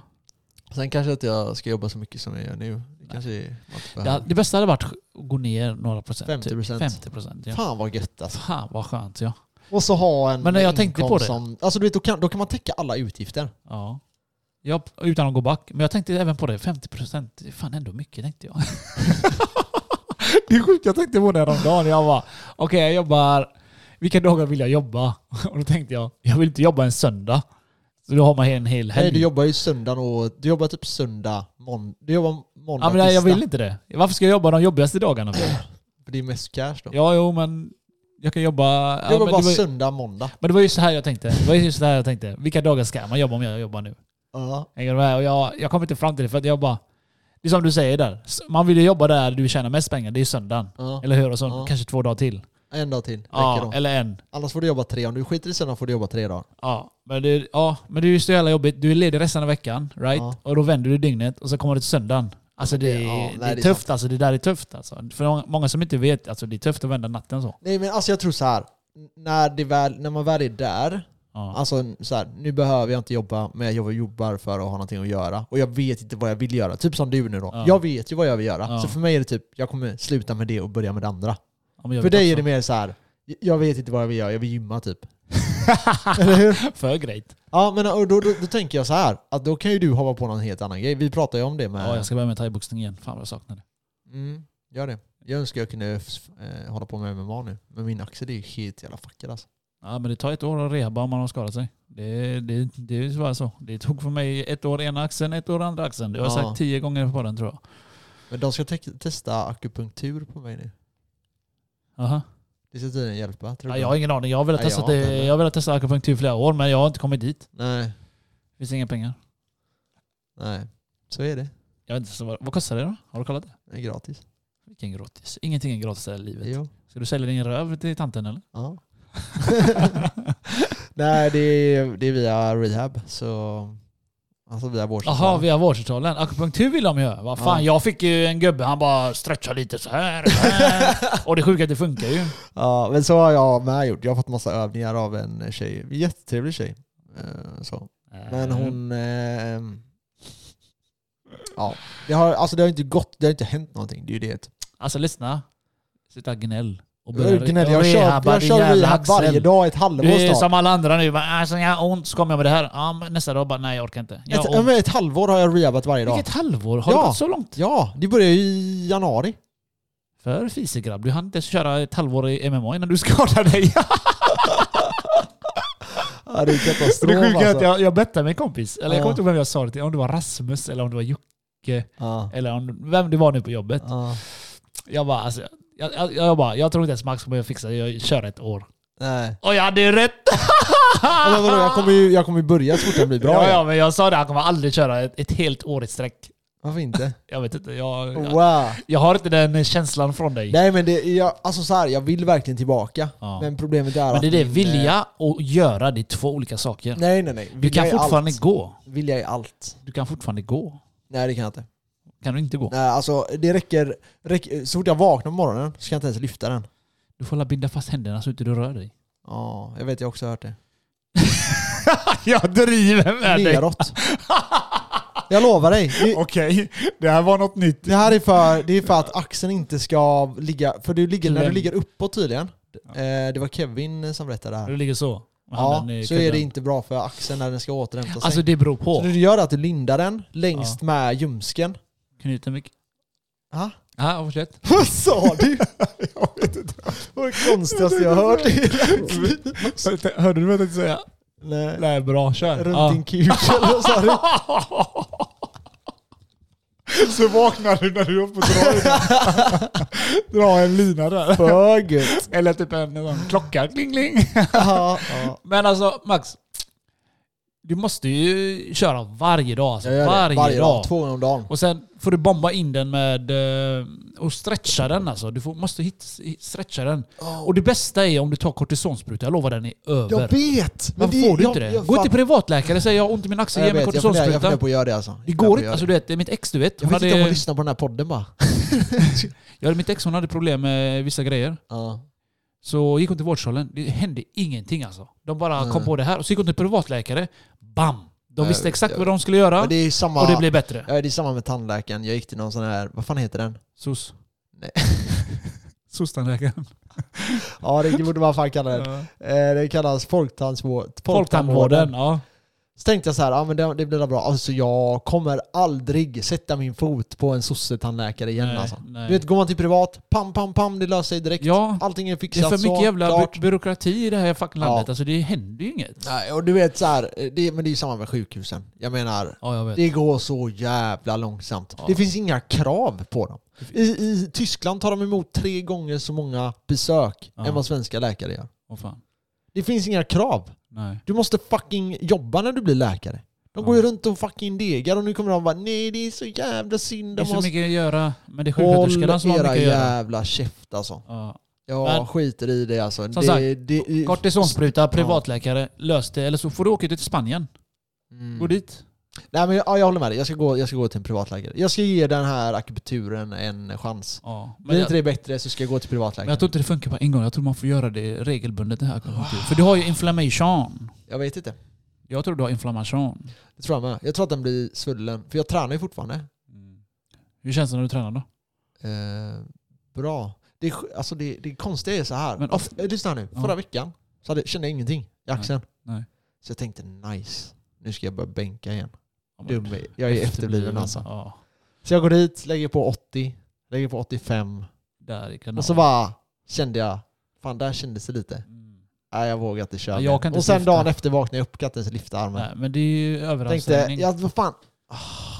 Speaker 1: Sen kanske att jag ska jobba så mycket som jag gör nu. Det kanske är...
Speaker 2: Det, det bästa hade varit att gå ner några procent.
Speaker 1: 50%.
Speaker 2: Typ. 50 procent. Ja.
Speaker 1: Fan vad gött alltså.
Speaker 2: Fan vad skönt ja.
Speaker 1: Och så ha en
Speaker 2: Men när jag
Speaker 1: inkomst
Speaker 2: tänkte på det-
Speaker 1: som... Alltså du vet, då kan, då kan man täcka alla utgifter.
Speaker 2: ja. Ja, utan att gå back. Men jag tänkte även på det. 50 procent, det är fan ändå mycket tänkte jag. [LAUGHS] det är sjukt, jag tänkte på det häromdagen. Jag bara, okej jag jobbar, vilka dagar vill jag jobba? [LAUGHS] Och då tänkte jag, jag vill inte jobba en söndag. Så då har man en hel helg.
Speaker 1: Nej, du jobbar ju söndag och... Du jobbar typ söndag, måndag... Du jobbar måndag,
Speaker 2: ja, men jag, jag
Speaker 1: tisdag.
Speaker 2: vill inte det. Varför ska jag jobba de jobbigaste dagarna? [CLEARS THROAT] för?
Speaker 1: För det är mest cash då.
Speaker 2: ja, jo men jag kan jobba...
Speaker 1: Du
Speaker 2: ja,
Speaker 1: jobbar
Speaker 2: men
Speaker 1: bara
Speaker 2: det var-
Speaker 1: söndag, måndag.
Speaker 2: Men det var ju så här jag tänkte. Det var ju så här jag tänkte. Vilka dagar ska man jobba om jag jobbar nu?
Speaker 1: Ja.
Speaker 2: Hänger du med? Och jag, jag kom inte fram till det för att jag bara... Det är som du säger där. S- Man vill ju jobba där du tjänar mest pengar. Det är ju söndagen.
Speaker 1: ja.
Speaker 2: Eller hur? Och så
Speaker 1: Ja.
Speaker 2: kanske två dagar till.
Speaker 1: En dag till. räcker
Speaker 2: Ja,
Speaker 1: då.
Speaker 2: eller en.
Speaker 1: Annars får du jobba tre. Om du skiter i söndag får du jobba tre dagar.
Speaker 2: Ja men, det, ja, men det är ju så jävla jobbigt. Du är ledig resten av veckan, right?
Speaker 1: Ja.
Speaker 2: Och då vänder du dygnet och så kommer det till söndagen. Alltså det,
Speaker 1: det- ja,
Speaker 2: är-
Speaker 1: nej,
Speaker 2: det är
Speaker 1: det är
Speaker 2: tufft alltså. Det där är tufft alltså. För många- många som inte vet, alltså det är tufft att vända natten så.
Speaker 1: Nej men alltså jag tror så här. N- När, det väl, när man väl är där,
Speaker 2: Ja.
Speaker 1: alltså så här, nu behöver jag inte jobba, men jag jobbar- jobbar för att ha någonting att göra. Och jag vet inte vad jag vill göra. Typ som du nu då.
Speaker 2: Ja.
Speaker 1: Jag vet ju vad jag vill göra.
Speaker 2: Ja.
Speaker 1: Så för mig är det typ, jag kommer sluta med det och börja med det andra.
Speaker 2: Ja, men jag
Speaker 1: För
Speaker 2: vet
Speaker 1: dig är det
Speaker 2: också.
Speaker 1: mer så här. jag vet inte vad jag vill göra, jag vill gymma typ.
Speaker 2: [LAUGHS]
Speaker 1: Eller hur?
Speaker 2: För grejt.
Speaker 1: Ja, men och då, då, då tänker jag så här, att då kan ju du hoppa på någon helt annan grej. Vi pratade ju om det med...
Speaker 2: Ja, jag ska börja med thaiboxning igen. Fan vad jag saknar det.
Speaker 1: mm, gör det. Jag önskar jag kunde eh, hålla på med MMA nu, men min axel är ju helt jävla fuckad alltså.
Speaker 2: Ja, men det tar ett år att rehaba om man har skadat sig. Det, det, det är ju bara så. Det tog för mig ett år ena axeln, ett år andra axeln. Det har jag
Speaker 1: Ja.
Speaker 2: sagt tio gånger på den tror jag.
Speaker 1: Men de ska te- testa akupunktur på mig nu.
Speaker 2: Aha.
Speaker 1: Det ska tydligen hjälpa, tror
Speaker 2: Ja,
Speaker 1: du?
Speaker 2: jag har ingen aning. Jag har velat
Speaker 1: Nej,
Speaker 2: testa,
Speaker 1: jag har inte
Speaker 2: det-
Speaker 1: heller.
Speaker 2: jag har velat testa akupunktur i flera år men jag har inte kommit dit.
Speaker 1: Nej,
Speaker 2: Det finns inga pengar.
Speaker 1: nej. Så är det.
Speaker 2: Jag vet inte, så vad, vad kostar det då? Har du kollat det?
Speaker 1: Det är gratis.
Speaker 2: Vilken gratis. Ingenting är gratis i det här livet.
Speaker 1: Jo.
Speaker 2: [LAUGHS] Ska du sälja din röv till tanten eller?
Speaker 1: Ja. [LAUGHS] Nej, det är, det är via rehab. Så, alltså via vårdcentralen.
Speaker 2: Jaha, via vårdcentralen. Akupunktur vill de göra. Vad fan,
Speaker 1: Ja.
Speaker 2: jag fick ju en gubbe, han bara stretchade lite så här. så
Speaker 1: [LAUGHS]
Speaker 2: här. och det sjuka är att det funkar ju.
Speaker 1: Ja, men så har jag med gjort. Jag har fått massa övningar av en tjej. Jättetrevlig tjej. Eh, Så. Men
Speaker 2: Mm.
Speaker 1: hon... Eh, ja. Det har, alltså det har inte gått, det har inte hänt någonting. Det är ju det.
Speaker 2: Alltså lyssna. Sluta gnäll. Och
Speaker 1: Jag, är gnällig. jag kör,
Speaker 2: rehabba
Speaker 1: jag
Speaker 2: din
Speaker 1: kör
Speaker 2: jävla
Speaker 1: rehab
Speaker 2: axel.
Speaker 1: varje dag i ett halvår
Speaker 2: Du är
Speaker 1: snart.
Speaker 2: som alla andra nu. Bara, alltså, jag har ont, så kommer jag med det här. Ja, men nästa dag bara, nej jag orkar inte. Jag
Speaker 1: Ett,
Speaker 2: har
Speaker 1: ja,
Speaker 2: ont.
Speaker 1: men ett halvår har jag rehabat varje dag.
Speaker 2: Vilket halvår? Har
Speaker 1: Ja.
Speaker 2: det gått så långt?
Speaker 1: Ja, det började ju i januari.
Speaker 2: För fisig grabb, du hann inte ens köra ett halvår i MMA innan du [LAUGHS] skadade dig. Alltså,
Speaker 1: Ja, det är
Speaker 2: Så
Speaker 1: katastrof
Speaker 2: det sjuka är att
Speaker 1: alltså.
Speaker 2: jag, jag bettade med en kompis, eller jag
Speaker 1: Ja.
Speaker 2: kommer inte ihåg vem jag sa det till, om det var Rasmus eller om det var Jocke,
Speaker 1: Ja.
Speaker 2: eller om, vem det var nu på jobbet.
Speaker 1: Ja.
Speaker 2: Jag bara, alltså, jag, jag, jag, bara, jag tror inte ens Max kommer att fixa det, jag kör ett år.
Speaker 1: Nej.
Speaker 2: Och jag hade ju rätt!
Speaker 1: Ja, men vadå, jag kommer ju jag kommer ju börja så fort jag blir bra.
Speaker 2: ja,
Speaker 1: igen.
Speaker 2: ja, men jag sa det, han kommer aldrig köra ett, ett helt år i sträck.
Speaker 1: Varför inte?
Speaker 2: Jag vet inte, jag, jag,
Speaker 1: Wow.
Speaker 2: jag har inte den känslan från dig.
Speaker 1: Nej men det, jag, alltså så här, jag vill verkligen tillbaka.
Speaker 2: Ja.
Speaker 1: Men problemet är
Speaker 2: Men
Speaker 1: att
Speaker 2: det är eh, det,
Speaker 1: min,
Speaker 2: vilja och göra, det är två olika saker.
Speaker 1: Nej nej nej.
Speaker 2: Du kan
Speaker 1: Vilja är
Speaker 2: fortfarande
Speaker 1: allt.
Speaker 2: gå.
Speaker 1: Vilja är allt.
Speaker 2: Du kan fortfarande gå.
Speaker 1: Nej det kan jag inte.
Speaker 2: Kan du inte gå?
Speaker 1: Nej, alltså, det räcker, räcker... Så fort jag vaknar på morgonen så kan jag inte ens lyfta den.
Speaker 2: Du får la binda fast händerna så inte du rör dig.
Speaker 1: Ja, jag vet jag har också hört det.
Speaker 2: [LAUGHS] jag driver med dig.
Speaker 1: Neråt. Jag lovar dig. Det,
Speaker 2: Okej, det här var något nytt.
Speaker 1: det här är för, det är för att axeln inte ska ligga... För du ligger, när du
Speaker 2: Kläm.
Speaker 1: ligger uppåt tydligen. Eh, det var Kevin som berättade det här.
Speaker 2: Du ligger så? med
Speaker 1: Ja,
Speaker 2: handen i
Speaker 1: så är det
Speaker 2: kudden.
Speaker 1: inte bra för axeln när den ska återhämta sig.
Speaker 2: Alltså det beror
Speaker 1: så
Speaker 2: på.
Speaker 1: det du gör är att du lindar den längst med ljumsken.
Speaker 2: Knuten mycket.
Speaker 1: Ja.
Speaker 2: Ja, fortsätt.
Speaker 1: [LAUGHS]
Speaker 2: [LAUGHS]
Speaker 1: Vad sa du? [LAUGHS] jag vet inte. Det var det konstigaste jag hört.
Speaker 2: Hörde du vad jag tänkte säga?
Speaker 1: [LAUGHS] Nej.
Speaker 2: Nej, bra. Kör.
Speaker 1: Runt din kuk eller vad sa du?
Speaker 2: så vaknar du när du är uppe och drar, drar en lina
Speaker 1: [LAUGHS]
Speaker 2: där.
Speaker 1: För gött.
Speaker 2: Eller typ en, en klocka. Kling, kling.
Speaker 1: Ja, ja.
Speaker 2: Men alltså Max. Du måste ju köra varje dag. Alltså.
Speaker 1: Jag gör
Speaker 2: varje,
Speaker 1: det. Varje dag.
Speaker 2: dag.
Speaker 1: Två gånger om dagen.
Speaker 2: Och sen får du bomba in den med... eh, Och stretcha den alltså. Du får, måste hit, stretcha den. Och det bästa är om du tar kortisonspruta. Jag lovar den är över.
Speaker 1: jag vet!
Speaker 2: Men får du inte det? Gå till
Speaker 1: det.
Speaker 2: privatläkare och säg jag har ont i min axel,
Speaker 1: Jag
Speaker 2: ge mig
Speaker 1: vet, jag funderar, jag funderar
Speaker 2: kortisonspruta.
Speaker 1: på att göra det alltså.
Speaker 2: Det
Speaker 1: Jag funderar på
Speaker 2: går
Speaker 1: att
Speaker 2: inte.
Speaker 1: göra
Speaker 2: Alltså
Speaker 1: det.
Speaker 2: du vet, det är mitt ex du vet.
Speaker 1: Jag
Speaker 2: Hon
Speaker 1: vet inte om hon
Speaker 2: hade,
Speaker 1: lyssnar på den här podden bara.
Speaker 2: jag hade mitt ex, hon hade problem med vissa grejer.
Speaker 1: Ja.
Speaker 2: Så gick hon till vårdcentralen. Det hände ingenting alltså. De bara
Speaker 1: Nej.
Speaker 2: kom på det här. Och så gick hon till privatläkare. Bam! De
Speaker 1: Jag
Speaker 2: visste
Speaker 1: vet,
Speaker 2: exakt
Speaker 1: jag
Speaker 2: vad de skulle göra.
Speaker 1: Men det är ju samma,
Speaker 2: Och det blev bättre.
Speaker 1: ja, det är samma med tandläkaren. Jag gick till någon sån här, vad fan heter den?
Speaker 2: SOS.
Speaker 1: Nej.
Speaker 2: [LAUGHS] SOS-tandläkaren.
Speaker 1: Ja, det borde man fan kalla den. Eh, Det kallas folktandvården.
Speaker 2: Folktandvården. Ja.
Speaker 1: Så tänkte jag så här, ja men det, det blir bra. Alltså jag kommer aldrig sätta min fot på en sossetandläkare igen
Speaker 2: Nej,
Speaker 1: alltså.
Speaker 2: nej.
Speaker 1: Du vet, går man till privat, pam, pam, pam, det löser sig direkt.
Speaker 2: Ja.
Speaker 1: Allting är
Speaker 2: Det är
Speaker 1: fixat
Speaker 2: för
Speaker 1: så,
Speaker 2: mycket jävla
Speaker 1: klart.
Speaker 2: by- byråkrati i det här fucking landet.
Speaker 1: Ja.
Speaker 2: Alltså det händer ju inget.
Speaker 1: Nej, och du vet så här, eh, det, men det är ju samma med sjukhusen. Jag menar,
Speaker 2: Ja, jag vet.
Speaker 1: det går så jävla långsamt.
Speaker 2: Ja.
Speaker 1: Det finns inga krav på dem. I, I Tyskland tar de emot tre gånger så många besök
Speaker 2: Ja.
Speaker 1: än vad svenska läkare gör.
Speaker 2: Åh fan.
Speaker 1: Det finns inga krav.
Speaker 2: Nej.
Speaker 1: Du måste fucking jobba när du blir läkare. De går
Speaker 2: Ja.
Speaker 1: ju runt och fucking degar och nu kommer de bara nej det är så jävla synd.
Speaker 2: Det är
Speaker 1: De
Speaker 2: så
Speaker 1: måste...
Speaker 2: mycket att göra, men det är
Speaker 1: Håll
Speaker 2: sjuksköterskorna som har
Speaker 1: era
Speaker 2: mycket att göra.
Speaker 1: jävla käft alltså.
Speaker 2: Ja.
Speaker 1: Jag
Speaker 2: Men-
Speaker 1: skiter i det alltså.
Speaker 2: Som
Speaker 1: det,
Speaker 2: sagt,
Speaker 1: det,
Speaker 2: Kortisonspruta, privatläkare, lös det. Eller så får du åka till Spanien.
Speaker 1: Mm.
Speaker 2: Gå dit.
Speaker 1: Nej men ja, jag håller med dig. Jag ska, gå, jag ska gå till en privatläkare. Jag ska ge den här akupunkturen en chans.
Speaker 2: Ja. Men,
Speaker 1: Blir
Speaker 2: jag,
Speaker 1: inte det bättre så ska jag gå till privatläkare.
Speaker 2: men jag tror inte det funkar på en gång. Jag tror man får göra det regelbundet. Det här. akupunktur. För du har ju inflammation.
Speaker 1: jag vet inte.
Speaker 2: Jag tror du har inflammation.
Speaker 1: Det tror jag med. Jag tror att den blir svullen. För jag tränar ju fortfarande. Mm.
Speaker 2: Hur känns det när du tränar då?
Speaker 1: Eh, bra. Det, är sj- alltså det, det konstiga är så här.
Speaker 2: Men
Speaker 1: Men
Speaker 2: of-
Speaker 1: Lyssna nu.
Speaker 2: Ja.
Speaker 1: Förra veckan så hade, kände jag ingenting i axeln.
Speaker 2: nej.
Speaker 1: Så jag tänkte nice. Nu ska jag börja bänka igen.
Speaker 2: Ja, men-
Speaker 1: Dum, är- jag är efterbliven alltså.
Speaker 2: Ja.
Speaker 1: Så jag går dit, lägger på 80, lägger på 85.
Speaker 2: Där i kanalen.
Speaker 1: Och så bara kände jag, fan där kändes det lite.
Speaker 2: Mm.
Speaker 1: Nej jag vågar inte köra.
Speaker 2: Ja, jag
Speaker 1: mer.
Speaker 2: kan inte
Speaker 1: och sen
Speaker 2: lyfta.
Speaker 1: dagen efter vaknade jag upp, kan inte ens lyfta armen.
Speaker 2: Nej, men det är ju
Speaker 1: Jag tänkte,
Speaker 2: överansträngning.
Speaker 1: jag, vad fan,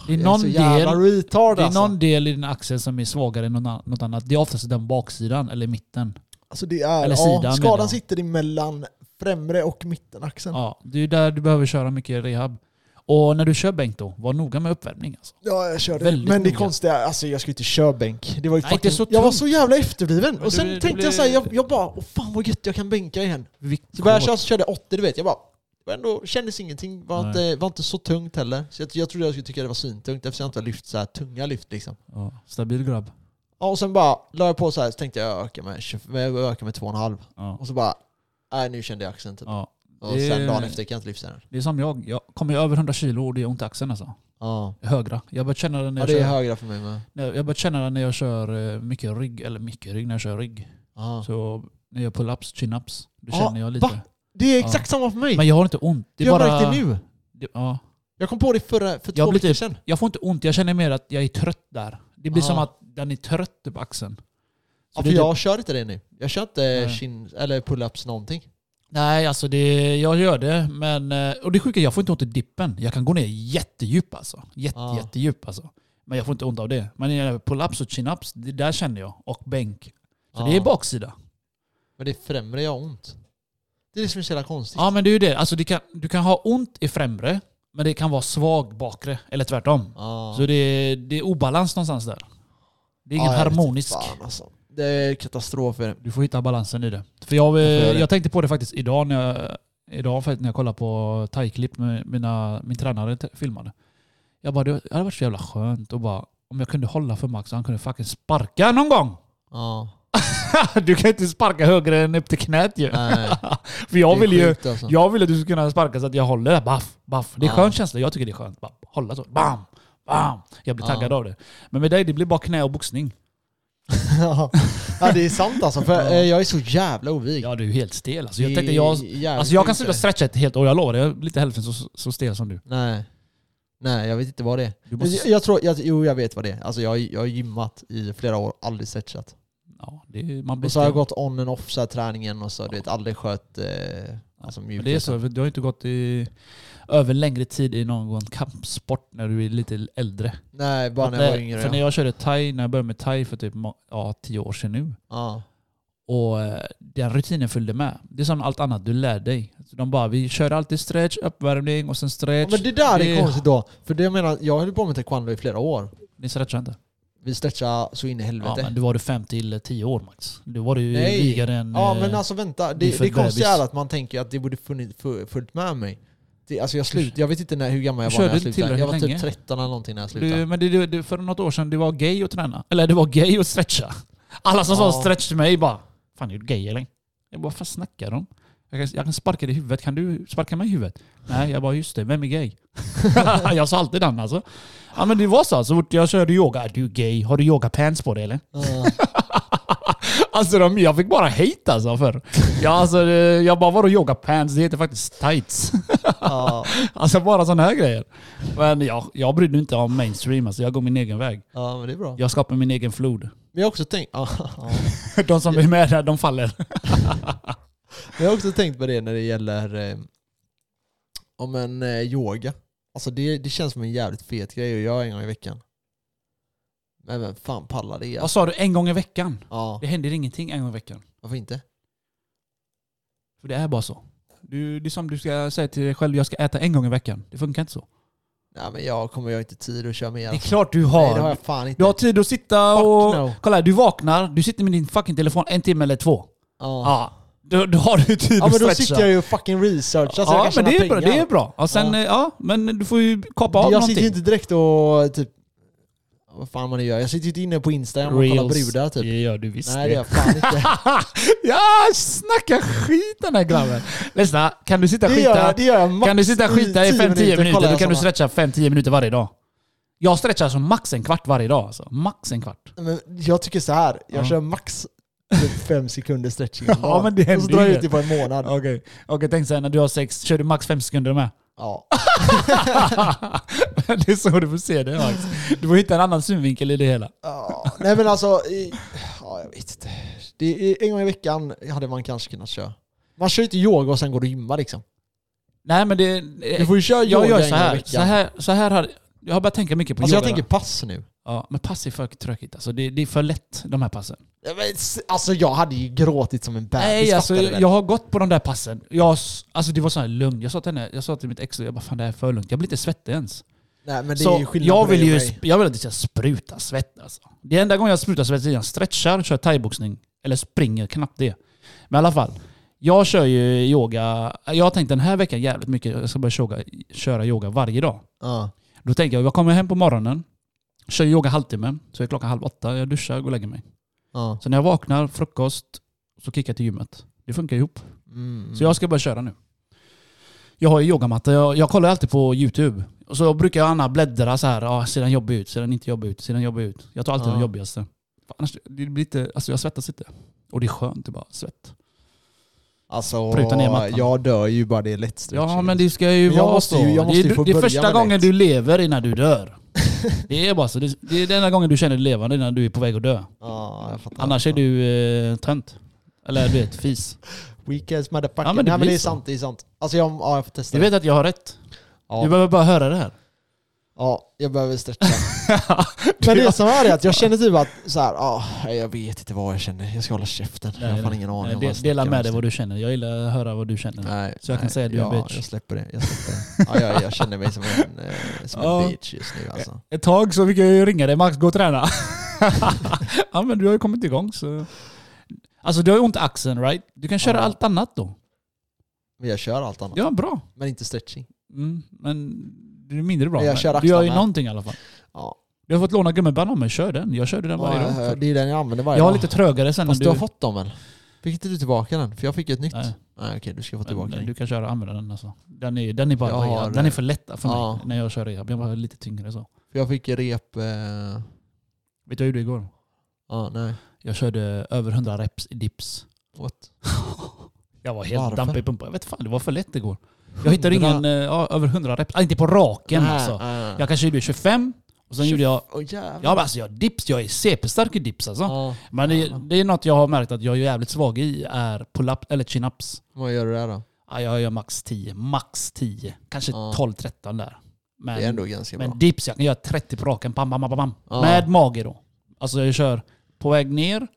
Speaker 2: det är
Speaker 1: jag är
Speaker 2: någon
Speaker 1: så jävla
Speaker 2: del
Speaker 1: retard
Speaker 2: det är
Speaker 1: alltså.
Speaker 2: någon del i din axel som är svagare än någon an- något annat. Det är oftast den baksidan eller mitten.
Speaker 1: alltså det är, ja,
Speaker 2: Eller sidan, menar
Speaker 1: skadan
Speaker 2: jag.
Speaker 1: sitter emellan främre och mittenaxeln. Ja.
Speaker 2: Ja, det är där du behöver köra mycket rehab. Och när du kör bänk då, var noga med uppvärmning. Alltså.
Speaker 1: jag körde.
Speaker 2: Väldigt
Speaker 1: Men det
Speaker 2: noga.
Speaker 1: konstiga, är, alltså jag skulle inte köra bänk. Det var ju
Speaker 2: Nej, det är
Speaker 1: fucking,
Speaker 2: så
Speaker 1: jag var
Speaker 2: tungt.
Speaker 1: så jävla efterbliven.
Speaker 2: Men
Speaker 1: och sen
Speaker 2: det- det
Speaker 1: tänkte jag
Speaker 2: blir-
Speaker 1: såhär, jag, jag bara, åh fan vad gött jag kan bänka igen.
Speaker 2: Vikt-
Speaker 1: Så började jag köra så körde jag 80 du vet, jag bara var ändå, kändes ingenting. Var
Speaker 2: Nej.
Speaker 1: inte, var inte så tungt heller. Så jag, jag trodde jag skulle tycka det var svintungt eftersom jag inte har lyft så här tunga lyft liksom.
Speaker 2: Ja, stabil grabb.
Speaker 1: Ja, och sen bara la jag på så här så tänkte jag öka med, 20 jag ökar med 2,5.
Speaker 2: Ja.
Speaker 1: Och så bara, nej nu kände jag axeln typ.
Speaker 2: Ja.
Speaker 1: Och
Speaker 2: det-
Speaker 1: sen dagen efter kan jag inte lyfta den.
Speaker 2: Det är som jag. Jag kommer över 100 kilo och det gör ont i axeln alltså.
Speaker 1: Ja.
Speaker 2: Högra. Jag börjar känna det när
Speaker 1: ja,
Speaker 2: jag
Speaker 1: det är
Speaker 2: kör,
Speaker 1: högra för mig med.
Speaker 2: när jag börjar känna det när jag kör eh, mycket rygg. Eller mycket rygg, när jag kör rygg.
Speaker 1: Ja.
Speaker 2: Så när jag pull-ups, chin-ups. Då
Speaker 1: Ja,
Speaker 2: känner jag lite.
Speaker 1: va? Det är exakt samma för mig!
Speaker 2: Men jag har inte ont. Det är
Speaker 1: jag
Speaker 2: bara,
Speaker 1: märkte det nu!
Speaker 2: Det, ja.
Speaker 1: Jag kom på det förra, för
Speaker 2: Jag
Speaker 1: två
Speaker 2: blir
Speaker 1: veckor
Speaker 2: typ-
Speaker 1: sedan.
Speaker 2: Jag får inte ont, jag känner mer att jag är trött där. Det blir
Speaker 1: Ja.
Speaker 2: som att den är trött på axeln. Så
Speaker 1: Ja,
Speaker 2: det
Speaker 1: för
Speaker 2: är
Speaker 1: jag
Speaker 2: typ-
Speaker 1: kör inte det nu. Jag kör inte
Speaker 2: Nej.
Speaker 1: chin, eller pull-ups någonting.
Speaker 2: Nej, alltså det, jag gör det. Men, eh, och det sjuka, jag får inte ont i dippen. Jag kan gå ner jättedjup alltså. Jätte,
Speaker 1: Ja.
Speaker 2: Jättedjup alltså. Men jag får inte ont av det. Men när jag gör pull-ups och chin-ups, det där känner jag. Och bänk. Så
Speaker 1: Ja.
Speaker 2: det är baksida.
Speaker 1: Men det främre jag har ont. Det är det som är så jävla konstigt.
Speaker 2: Ja men det är ju det. Alltså, det kan, du kan ha ont i främre, men det kan vara svag bakre. Eller tvärtom.
Speaker 1: Ja.
Speaker 2: Så det, det är obalans någonstans där. Det är ingen
Speaker 1: Ja, jag vet inte
Speaker 2: harmonisk...
Speaker 1: Fan, alltså. Det är katastrof. för det.
Speaker 2: Du får hitta balansen i det. För jag, eh,
Speaker 1: Jag får göra det.
Speaker 2: jag tänkte på det faktiskt idag när jag, idag faktiskt när jag kollade på thai-klipp med mina, min tränare te- filmade. Jag bara, det hade varit så jävla skönt att bara, om jag kunde hålla för Max så han kunde fucking sparka någon gång. [LAUGHS]
Speaker 1: Ja.
Speaker 2: du kan inte sparka högre än upp till knät ju.
Speaker 1: Nej,
Speaker 2: För jag
Speaker 1: det är
Speaker 2: vill ju,
Speaker 1: sjukt, alltså.
Speaker 2: jag vill att du ska kunna sparka så att jag håller där. Baff, baff. Det är
Speaker 1: Ja.
Speaker 2: skön känsla. Jag tycker det är skönt. Bara hålla så. Bam, bam. Jag blir
Speaker 1: Ja.
Speaker 2: taggad av det. Men med dig, det blir bara knä och boxning.
Speaker 1: [LAUGHS] ja, det är sant alltså. För eh, jag är så jävla ovig.
Speaker 2: Ja, du är helt stel. Alltså, jag
Speaker 1: Det
Speaker 2: tänkte,
Speaker 1: är
Speaker 2: jag,
Speaker 1: jävligt
Speaker 2: Alltså jag kan
Speaker 1: sjukt, eh.
Speaker 2: sluta
Speaker 1: det.
Speaker 2: stretcha ett helt år, jag lovar. Jag blir inte hälften så, så stel som du.
Speaker 1: Nej. Nej, jag vet inte vad det är.
Speaker 2: du
Speaker 1: Jag, jag tror, jag, jo jag vet vad det är. Alltså jag, har- jag har gymmat i flera år, aldrig stretchat.
Speaker 2: ja, det är, man blir
Speaker 1: Och så har jag
Speaker 2: stel.
Speaker 1: gått on and off så här, träningen och så, du vet, aldrig skött eh, alltså,
Speaker 2: Men det är så,
Speaker 1: mjukheten.
Speaker 2: för du har ju inte gått i, över längre tid i någon kampsport när du är lite äldre.
Speaker 1: Nej, bara
Speaker 2: För
Speaker 1: när jag var
Speaker 2: när-
Speaker 1: yngre.
Speaker 2: För
Speaker 1: Ja.
Speaker 2: när jag körde thai, när jag började med thai för typ må- ja, tio år sedan nu,
Speaker 1: Ja.
Speaker 2: och eh, den rutinen följde med. Det är som allt annat du lär dig. Så de bara, vi kör alltid stretch, uppvärmning och sen
Speaker 1: Ja,
Speaker 2: stretch.
Speaker 1: men det där
Speaker 2: Det-
Speaker 1: är konstigt då. För det jag menar, jag höll på med taekwondo i flera år.
Speaker 2: Ni stretchar inte?
Speaker 1: Vi stretchade så in i
Speaker 2: Ja,
Speaker 1: helvete.
Speaker 2: men du var du fem till tio år max. Du var du ju
Speaker 1: Nej.
Speaker 2: vigare än...
Speaker 1: Ja
Speaker 2: eh,
Speaker 1: men alltså vänta,
Speaker 2: det är
Speaker 1: det,
Speaker 2: för
Speaker 1: det konstiga
Speaker 2: bebis.
Speaker 1: är att man tänker att det borde funnit, fu- följt med mig. Det, alltså jag, slut, jag vet inte när, hur gammal jag
Speaker 2: Du
Speaker 1: var när
Speaker 2: körde
Speaker 1: jag
Speaker 2: inte
Speaker 1: slutade. Jag var
Speaker 2: tillräckligt
Speaker 1: typ 13 eller någonting när jag slutade.
Speaker 2: Du, men det, det, det, för något år sedan, det var gay att träna. Eller det var gay att stretcha. Alla som sa
Speaker 1: Ja.
Speaker 2: stretch till mig bara Fan, är du gay eller? Jag bara, vad fan snackar de? Jag kan, jag kan sparka dig i huvudet, kan du sparka mig i huvudet? Nej, jag bara just det, vem är gay? [LAUGHS] jag sa alltid den alltså. Ja men det var så, så fort jag körde yoga, är du gay? Har du yogapants på dig eller?
Speaker 1: Ja.
Speaker 2: Alltså de, jag fick bara hate alltså för. Ja, alltså, eh, jag bara, vadå yogapants? Det heter faktiskt tights. [LAUGHS]
Speaker 1: Ja,
Speaker 2: Alltså bara sådana här grejer. Men jag, jag brydde mig inte om mainstream, alltså, jag går min egen väg.
Speaker 1: ja men det är bra.
Speaker 2: Jag skapar min egen flod.
Speaker 1: Men jag har också tänkt, ja, [LAUGHS] ja.
Speaker 2: [LAUGHS] De som är med där, de faller.
Speaker 1: Men Jag har också tänkt på det när det gäller eh, om en eh, yoga. Alltså det, det känns som en jävligt fet grej att göra en gång i veckan. Men vem fan pallar det?
Speaker 2: Vad
Speaker 1: Alltså?
Speaker 2: sa du? En gång i veckan?
Speaker 1: Ja,
Speaker 2: Det händer ingenting en gång i veckan.
Speaker 1: varför inte?
Speaker 2: För det är bara så. Du, det är som du ska säga till dig själv, jag ska äta en gång i veckan. Det funkar inte så.
Speaker 1: Nej men jag kommer jag har inte tid att köra mer.
Speaker 2: Det är
Speaker 1: alltså.
Speaker 2: klart du
Speaker 1: Nej det har
Speaker 2: har.
Speaker 1: jag fan inte.
Speaker 2: Du har tid att sitta
Speaker 1: Fuck
Speaker 2: och...
Speaker 1: no.
Speaker 2: Kolla här, du vaknar, du sitter med din fucking telefon en timme eller två.
Speaker 1: Ja.
Speaker 2: Ja. Då, då har du tid
Speaker 1: Ja men
Speaker 2: att
Speaker 1: då
Speaker 2: stretcha.
Speaker 1: sitter jag ju och fucking researchar så jag
Speaker 2: ja,
Speaker 1: kan
Speaker 2: men
Speaker 1: tjäna
Speaker 2: det är, bra,
Speaker 1: pengar.
Speaker 2: det är bra. Och sen, ja. ja, men du får ju kapa av
Speaker 1: jag sitter
Speaker 2: någonting.
Speaker 1: ju inte direkt och typ... Vad fan man nu gör. Jag sitter ju inte inne på Instagram och kollar brudar typ.
Speaker 2: Det gör du visst.
Speaker 1: Nej det gör jag
Speaker 2: [LAUGHS]
Speaker 1: fan inte.
Speaker 2: ja, snacka skit den här grabben. Lyssna, kan du sitta och
Speaker 1: Det
Speaker 2: skita?
Speaker 1: gör, jag- det gör jag max
Speaker 2: Kan du sitta och skita i 5-10 minuter,
Speaker 1: kollar
Speaker 2: då
Speaker 1: jag
Speaker 2: kan du
Speaker 1: såna.
Speaker 2: stretcha 5-10 minuter varje dag. Jag stretchar alltså max en kvart varje dag. Alltså. Max en kvart.
Speaker 1: Men jag tycker så här. jag
Speaker 2: Ja.
Speaker 1: kör max
Speaker 2: [LAUGHS]
Speaker 1: typ fem sekunder stretching om
Speaker 2: Ja,
Speaker 1: dagen.
Speaker 2: men det
Speaker 1: Och så
Speaker 2: händer
Speaker 1: drar jag
Speaker 2: ju.
Speaker 1: ut det på en månad. Ja.
Speaker 2: Okej, tänk såhär när du har sex, kör du max 5
Speaker 1: [LAUGHS]
Speaker 2: sekunder med? det är så du får se det Max. Du får hitta en annan synvinkel i det hela.
Speaker 1: Ja. Nej men alltså, i- ja, jag vet inte. Det är, en gång i veckan hade man kanske kunnat köra. Man kör ju inte yoga och sen går du och gymmar liksom.
Speaker 2: Nej men det...
Speaker 1: Du får ju köra
Speaker 2: jag
Speaker 1: yoga
Speaker 2: gör
Speaker 1: en
Speaker 2: så
Speaker 1: gång i
Speaker 2: här,
Speaker 1: veckan.
Speaker 2: så här, så här har, Jag har börjat tänka mycket på
Speaker 1: Alltså jag
Speaker 2: yoga.
Speaker 1: tänker pass nu.
Speaker 2: ja, men pass är för tråkigt alltså. Det, det är för lätt de här passen.
Speaker 1: Ja, men s- Alltså jag hade ju gråtit som en bebis.
Speaker 2: Nej, alltså,
Speaker 1: fattar du väl?
Speaker 2: jag har gått på de där passen. Jag, s- alltså, det var så här lugnt. Jag sa till, henne, jag sa till mitt ex, jag bara fan det här är för lugnt. Jag blir inte svettig ens.
Speaker 1: Nej men det är
Speaker 2: Så
Speaker 1: ju skillnad
Speaker 2: jag
Speaker 1: på dig
Speaker 2: vill,
Speaker 1: och
Speaker 2: ju,
Speaker 1: mig.
Speaker 2: sp- jag vill att det ska spruta svett alltså. Det enda gången jag sprutar svett är när jag stretchar, kör thaiboxning. Eller springer, knappt det. Men i alla fall. Jag kör ju yoga. Jag har tänkt den här veckan jävligt mycket. Jag ska börja köra, köra yoga varje dag.
Speaker 1: Ja.
Speaker 2: Då tänker jag, jag kommer hem på morgonen, kör yoga halvtimme, så är klockan halv åtta, jag duschar, går och lägger mig.
Speaker 1: Ja.
Speaker 2: Så när jag vaknar, frukost, så kickar jag till gymmet. Det funkar ihop.
Speaker 1: Mm.
Speaker 2: Så jag ska börja köra nu. Jag har ju yogamatta, jag, jag kollar alltid på YouTube. Och så brukar jag annars bläddra så här, ah, ser den jobbig ut, ser den inte jobbig ut, ser den jobbig ut. Jag tar alltid
Speaker 1: Ja.
Speaker 2: den jobbigaste. För Annars, det blir inte, alltså jag svettas inte. Och det är skönt, det är bara svett.
Speaker 1: Alltså,
Speaker 2: Pruta ner mattan.
Speaker 1: jag dör ju bara det är lätt stretching.
Speaker 2: Ja men det ska ju
Speaker 1: Men jag
Speaker 2: vara
Speaker 1: måste
Speaker 2: så.
Speaker 1: ju- jag måste
Speaker 2: det
Speaker 1: ju få
Speaker 2: är, det är
Speaker 1: börja
Speaker 2: första
Speaker 1: med
Speaker 2: gången
Speaker 1: det.
Speaker 2: du lever innan du
Speaker 1: [LAUGHS]
Speaker 2: dör. Det är bara så. Det, det är den enda gången du känner dig levande innan du är på väg att dö.
Speaker 1: Ja, jag fattar.
Speaker 2: Annars är du eh, tönt. Eller du
Speaker 1: [LAUGHS]
Speaker 2: vet, fis.
Speaker 1: Weak as motherfucker.
Speaker 2: Ja, men
Speaker 1: Nej
Speaker 2: det
Speaker 1: men
Speaker 2: blir
Speaker 1: det är
Speaker 2: så.
Speaker 1: sant, det är sant. Alltså jag, ja, jag får testa
Speaker 2: Du vet att jag har rätt.
Speaker 1: Ja.
Speaker 2: Du behöver bara höra det här.
Speaker 1: Ja, jag behöver
Speaker 2: [LAUGHS]
Speaker 1: stretcha. [LAUGHS] Men det som är det att jag känner typ att så här, ah, jag vet inte vad jag känner. Jag ska hålla käften. jag har fan ingen aning. om vad
Speaker 2: de,
Speaker 1: jag snackar
Speaker 2: dela
Speaker 1: om
Speaker 2: med dig
Speaker 1: just
Speaker 2: vad du känner. Jag gillar att höra vad du känner.
Speaker 1: Nej,
Speaker 2: Så jag kan
Speaker 1: nej,
Speaker 2: säga att du är
Speaker 1: ja,
Speaker 2: en bitch.
Speaker 1: Jag släpper det. Jag, släpper det. Ja, jag, jag känner mig som en, eh, som
Speaker 2: [LAUGHS] Ja.
Speaker 1: en bitch just nu alltså.
Speaker 2: Ett tag så fick jag ju ringa dig Max, gå och [LAUGHS] träna. ja men du har ju kommit igång så... Alltså du har ju ont i axeln right? Du kan köra
Speaker 1: Ja.
Speaker 2: allt annat då.
Speaker 1: Men jag kör allt annat.
Speaker 2: Ja bra.
Speaker 1: Men inte stretching.
Speaker 2: Mm, men det är mindre bra.
Speaker 1: Jag
Speaker 2: Men
Speaker 1: kör
Speaker 2: du gör ju
Speaker 1: axlarna.
Speaker 2: någonting i alla fall.
Speaker 1: Ja.
Speaker 2: Du har fått låna gummiband av mig, kör den. Jag körde den varje dag.
Speaker 1: Ja, jag- det är den jag använder varje
Speaker 2: Jag har
Speaker 1: dag.
Speaker 2: lite trögare sen
Speaker 1: Fast
Speaker 2: än
Speaker 1: du har fått dem väl? Fick inte du tillbaka den? För jag fick ju ett nytt.
Speaker 2: Nej.
Speaker 1: Nej, okej, du ska få
Speaker 2: Men
Speaker 1: tillbaka den.
Speaker 2: Du kan köra använda den alltså. Den är, den är bara
Speaker 1: Jag har-
Speaker 2: rehab. Den är för lätt för mig
Speaker 1: Ja.
Speaker 2: när jag kör rehab. Jag behöver lite tyngre så.
Speaker 1: För jag fick rep... Eh,
Speaker 2: Vet du vad jag gjorde igår?
Speaker 1: ja, nej.
Speaker 2: Jag körde över 100 reps i dips.
Speaker 1: What?
Speaker 2: Jag var helt
Speaker 1: Varför?
Speaker 2: dampig i pumpen. Jag vet fan, det var för lätt igår. Jag hittade
Speaker 1: Hundra-
Speaker 2: ingen, eh, ja, över 100 reps. Ah, inte på raken
Speaker 1: Nej,
Speaker 2: alltså.
Speaker 1: nej.
Speaker 2: Jag kanske gjorde 25 och sen gjorde jag...
Speaker 1: Åh jävlar.
Speaker 2: Ja, men alltså jag dips, jag är CP-stark i dips alltså.
Speaker 1: Ja.
Speaker 2: Men det, det är något jag har märkt att jag är jävligt svag i är pull-up eller chin-ups.
Speaker 1: Vad gör du där då?
Speaker 2: Ja, jag gör max 10, max 10. Kanske
Speaker 1: Ja.
Speaker 2: 12-13 där. Men,
Speaker 1: Det är ändå ganska bra.
Speaker 2: men dips, jag kan göra 30 på raken. Bam, bam, bam, bam.
Speaker 1: Ja.
Speaker 2: Med mage då. Alltså jag kör på väg ner,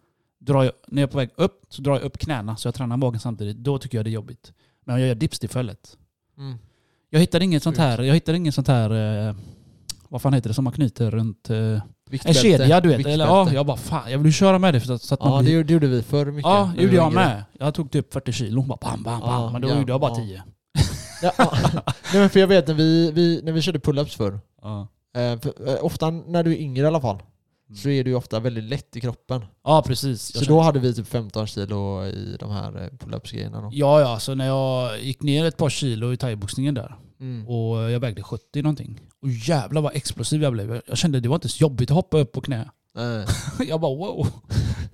Speaker 2: drar jag, när jag är på väg upp så drar jag upp knäna så jag tränar magen samtidigt. Då tycker jag det är jobbigt. Men om jag gör dips till följet.
Speaker 1: Mm.
Speaker 2: Jag hittade inget sånt här, jag hittade inget sånt här, eh, vad fan heter det som man knyter runt eh, en
Speaker 1: Viktbälte.
Speaker 2: kedja du vet. Eller, ja,
Speaker 1: Viktbälte.
Speaker 2: jag bara fan, jag vill ju köra med det för att, så att man
Speaker 1: ja,
Speaker 2: blir
Speaker 1: det, gjorde- det gjorde vi förr mycket.
Speaker 2: Ja,
Speaker 1: när vi
Speaker 2: gjorde
Speaker 1: var
Speaker 2: jag
Speaker 1: yngre.
Speaker 2: med. Jag tog typ 40 kilo. Hon bara bam, bam, bam.
Speaker 1: Ja,
Speaker 2: men då
Speaker 1: ja,
Speaker 2: gjorde jag bara
Speaker 1: ja.
Speaker 2: 10.
Speaker 1: Ja,
Speaker 2: [LAUGHS]
Speaker 1: [LAUGHS] ja. Nej, men för jag vet när vi, vi, när vi körde pull-ups förr,
Speaker 2: Ja,
Speaker 1: eh, för, eh, ofta när du är yngre i alla fall,
Speaker 2: Mm.
Speaker 1: så är du ju ofta väldigt lätt i kroppen.
Speaker 2: precis. Jag
Speaker 1: Så då hade vi typ 15 kilo i de här eh, pull-ups-grejerna då.
Speaker 2: Ja, ja. Så när jag gick ner ett par kilo i thaiboxningen där
Speaker 1: Mm.
Speaker 2: och jag vägde 70 någonting. Och jävlar vad explosiv jag blev. Jag kände det var inte så jobbigt att hoppa upp på knä. [LAUGHS]
Speaker 1: Nej.
Speaker 2: Jag bara wow.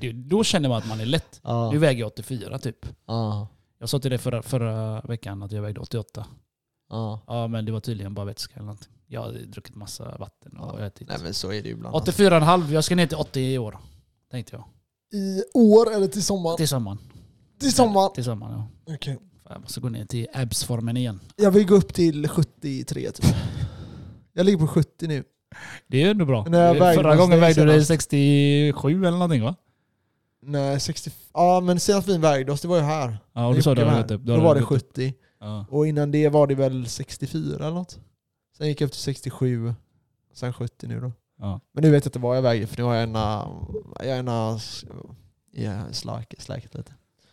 Speaker 2: Det, då känner man att man är lätt.
Speaker 1: Ja,
Speaker 2: Nu väger jag 84 typ.
Speaker 1: ja,
Speaker 2: Jag sa till dig förra, förra veckan att jag vägde 88.
Speaker 1: ja.
Speaker 2: Ja, men det var tydligen bara vätska eller någonting. Jag har druckit massa vatten och ätit.
Speaker 1: Nej men så är det ju ibland.
Speaker 2: 84,5. Jag ska ner till 80 i år. Tänkte jag.
Speaker 1: I år eller till sommaren?
Speaker 2: Till sommaren.
Speaker 1: Till sommaren!
Speaker 2: Till sommaren ja. Fan, jag måste gå ner till absformen igen.
Speaker 1: Jag vill gå upp till 73 typ. Jag ligger på 70 nu.
Speaker 2: Det är ju ändå bra.
Speaker 1: Men när jag vägde
Speaker 2: Förra
Speaker 1: mig
Speaker 2: gången vägde du dig
Speaker 1: senast-
Speaker 2: 67 eller någonting va?
Speaker 1: Nej, 60... Ja men senast vi vägde oss, det var ju här.
Speaker 2: Ja, och du sa
Speaker 1: Jocke
Speaker 2: det har
Speaker 1: var
Speaker 2: du
Speaker 1: här.
Speaker 2: gått upp.
Speaker 1: Då
Speaker 2: har
Speaker 1: var
Speaker 2: du
Speaker 1: det
Speaker 2: gått upp.
Speaker 1: 70.
Speaker 2: Ja.
Speaker 1: Och innan det var det väl 64 eller något. Sen gick jag upp till 67, sen 70 nu då.
Speaker 2: Ja.
Speaker 1: Men nu vet jag inte vad jag väger för nu har jag ena... Jag har ena... Ja, slack, släckt lite.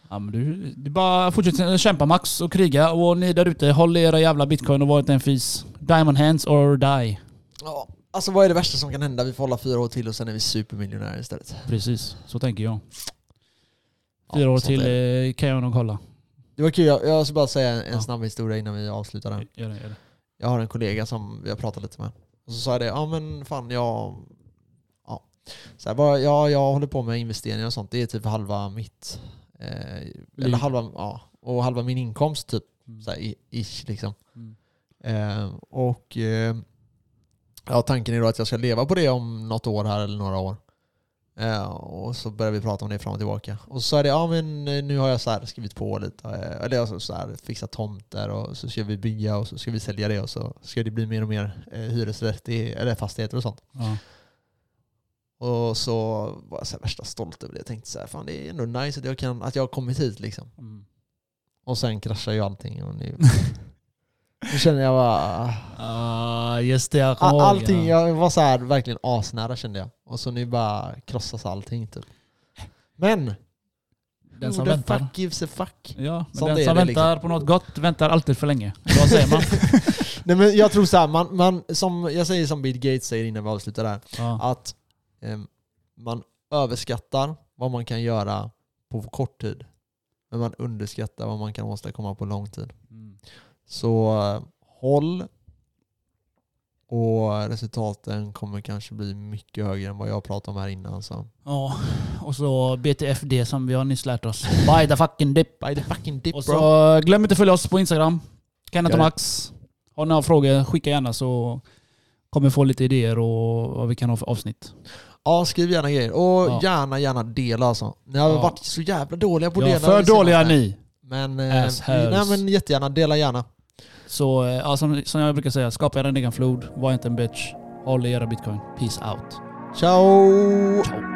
Speaker 2: Ja, men du, du bara fortsätter kämpa Max och kriga och ni där ute håll era jävla bitcoin och var inte en fis. Diamond hands or die.
Speaker 1: Ja, alltså vad är det värsta som kan hända? Vi får hålla fyra år till och sen är vi supermiljonärer istället.
Speaker 2: Precis, så tänker jag.
Speaker 1: Ja,
Speaker 2: Fyra år
Speaker 1: sånt är
Speaker 2: till
Speaker 1: det.
Speaker 2: eh, kan jag nog hålla.
Speaker 1: Det var kul, jag, jag ska bara säga en, en
Speaker 2: Ja.
Speaker 1: snabb historia innan vi avslutar den.
Speaker 2: Gör det, gör det.
Speaker 1: Jag har en kollega som jag pratat lite med. Och så sa jag det, ja men fan jag... Ja. Så här, bara, ja, jag håller på med investeringar och sånt. Det är typ halva mitt... Eh, eller halva, ja, och halva min inkomst typ.
Speaker 2: Mm.
Speaker 1: Så här, i- ish liksom.
Speaker 2: Mm.
Speaker 1: Eh, och eh, ja, tanken är då att jag ska leva på det om något år här eller några år. Eh, och så började vi prata om det fram och tillbaka. Och så sa jag det, ja men eh, nu har jag så här skrivit på lite, eh, eller alltså så här fixat tomter och så ska vi bygga och så ska vi sälja det och så ska det bli mer och mer eh, hyresrätt i, eller fastigheter och sånt.
Speaker 2: Ja.
Speaker 1: Och så var jag så här värsta stolt över det. Jag tänkte så här, fan det är ändå nice att jag, kan, att jag har kommit hit liksom.
Speaker 2: Mm.
Speaker 1: Och sen kraschar ju allting och nu, nu känner jag bara,
Speaker 2: Ah, just det, jag kommer
Speaker 1: All,
Speaker 2: ihåg.
Speaker 1: allting,
Speaker 2: ja.
Speaker 1: jag var så här verkligen asnära kände jag. Och så nu bara krossas allting typ. Men!
Speaker 2: Den som
Speaker 1: Who the
Speaker 2: väntar.
Speaker 1: fuck gives a fuck?
Speaker 2: Ja, men
Speaker 1: Sånt
Speaker 2: den
Speaker 1: är
Speaker 2: som
Speaker 1: det,
Speaker 2: väntar på något gott väntar alltid för länge. Vad säger [LAUGHS] man?
Speaker 1: Nej men jag tror såhär, man, man, som, jag säger som Bill Gates säger innan vi avslutar där.
Speaker 2: Ja.
Speaker 1: Att ehm, man överskattar vad man kan göra på kort tid. Men man underskattar vad man kan åstadkomma på lång tid.
Speaker 2: Mm.
Speaker 1: Så eh, håll och resultaten kommer kanske bli mycket högre än vad jag pratade om här innan. Så.
Speaker 2: ja, och så BTFD som vi har nyss lärt oss. Buy the fucking dip.
Speaker 1: By the fucking dip
Speaker 2: Och
Speaker 1: bro.
Speaker 2: så glöm inte att följa oss på Instagram. Kenneth och
Speaker 1: Gör det.
Speaker 2: Max. Har ni några frågor, skicka gärna så kommer vi få lite idéer och vad vi kan ha för avsnitt.
Speaker 1: Ja, skriv gärna grejer. Och
Speaker 2: Ja.
Speaker 1: gärna, gärna dela alltså. Ni har
Speaker 2: Ja.
Speaker 1: varit så jävla dåliga på att
Speaker 2: Ja,
Speaker 1: dela.
Speaker 2: för
Speaker 1: det senaste.
Speaker 2: dåliga är ni.
Speaker 1: Men, eh,
Speaker 2: Assholes.
Speaker 1: nej, men jättegärna, dela gärna.
Speaker 2: Så eh, ja, som, som jag brukar säga, skapa er en egen flod. Var inte en bitch. Håll i era bitcoin. Peace out.
Speaker 1: Ciao!
Speaker 2: Ciao.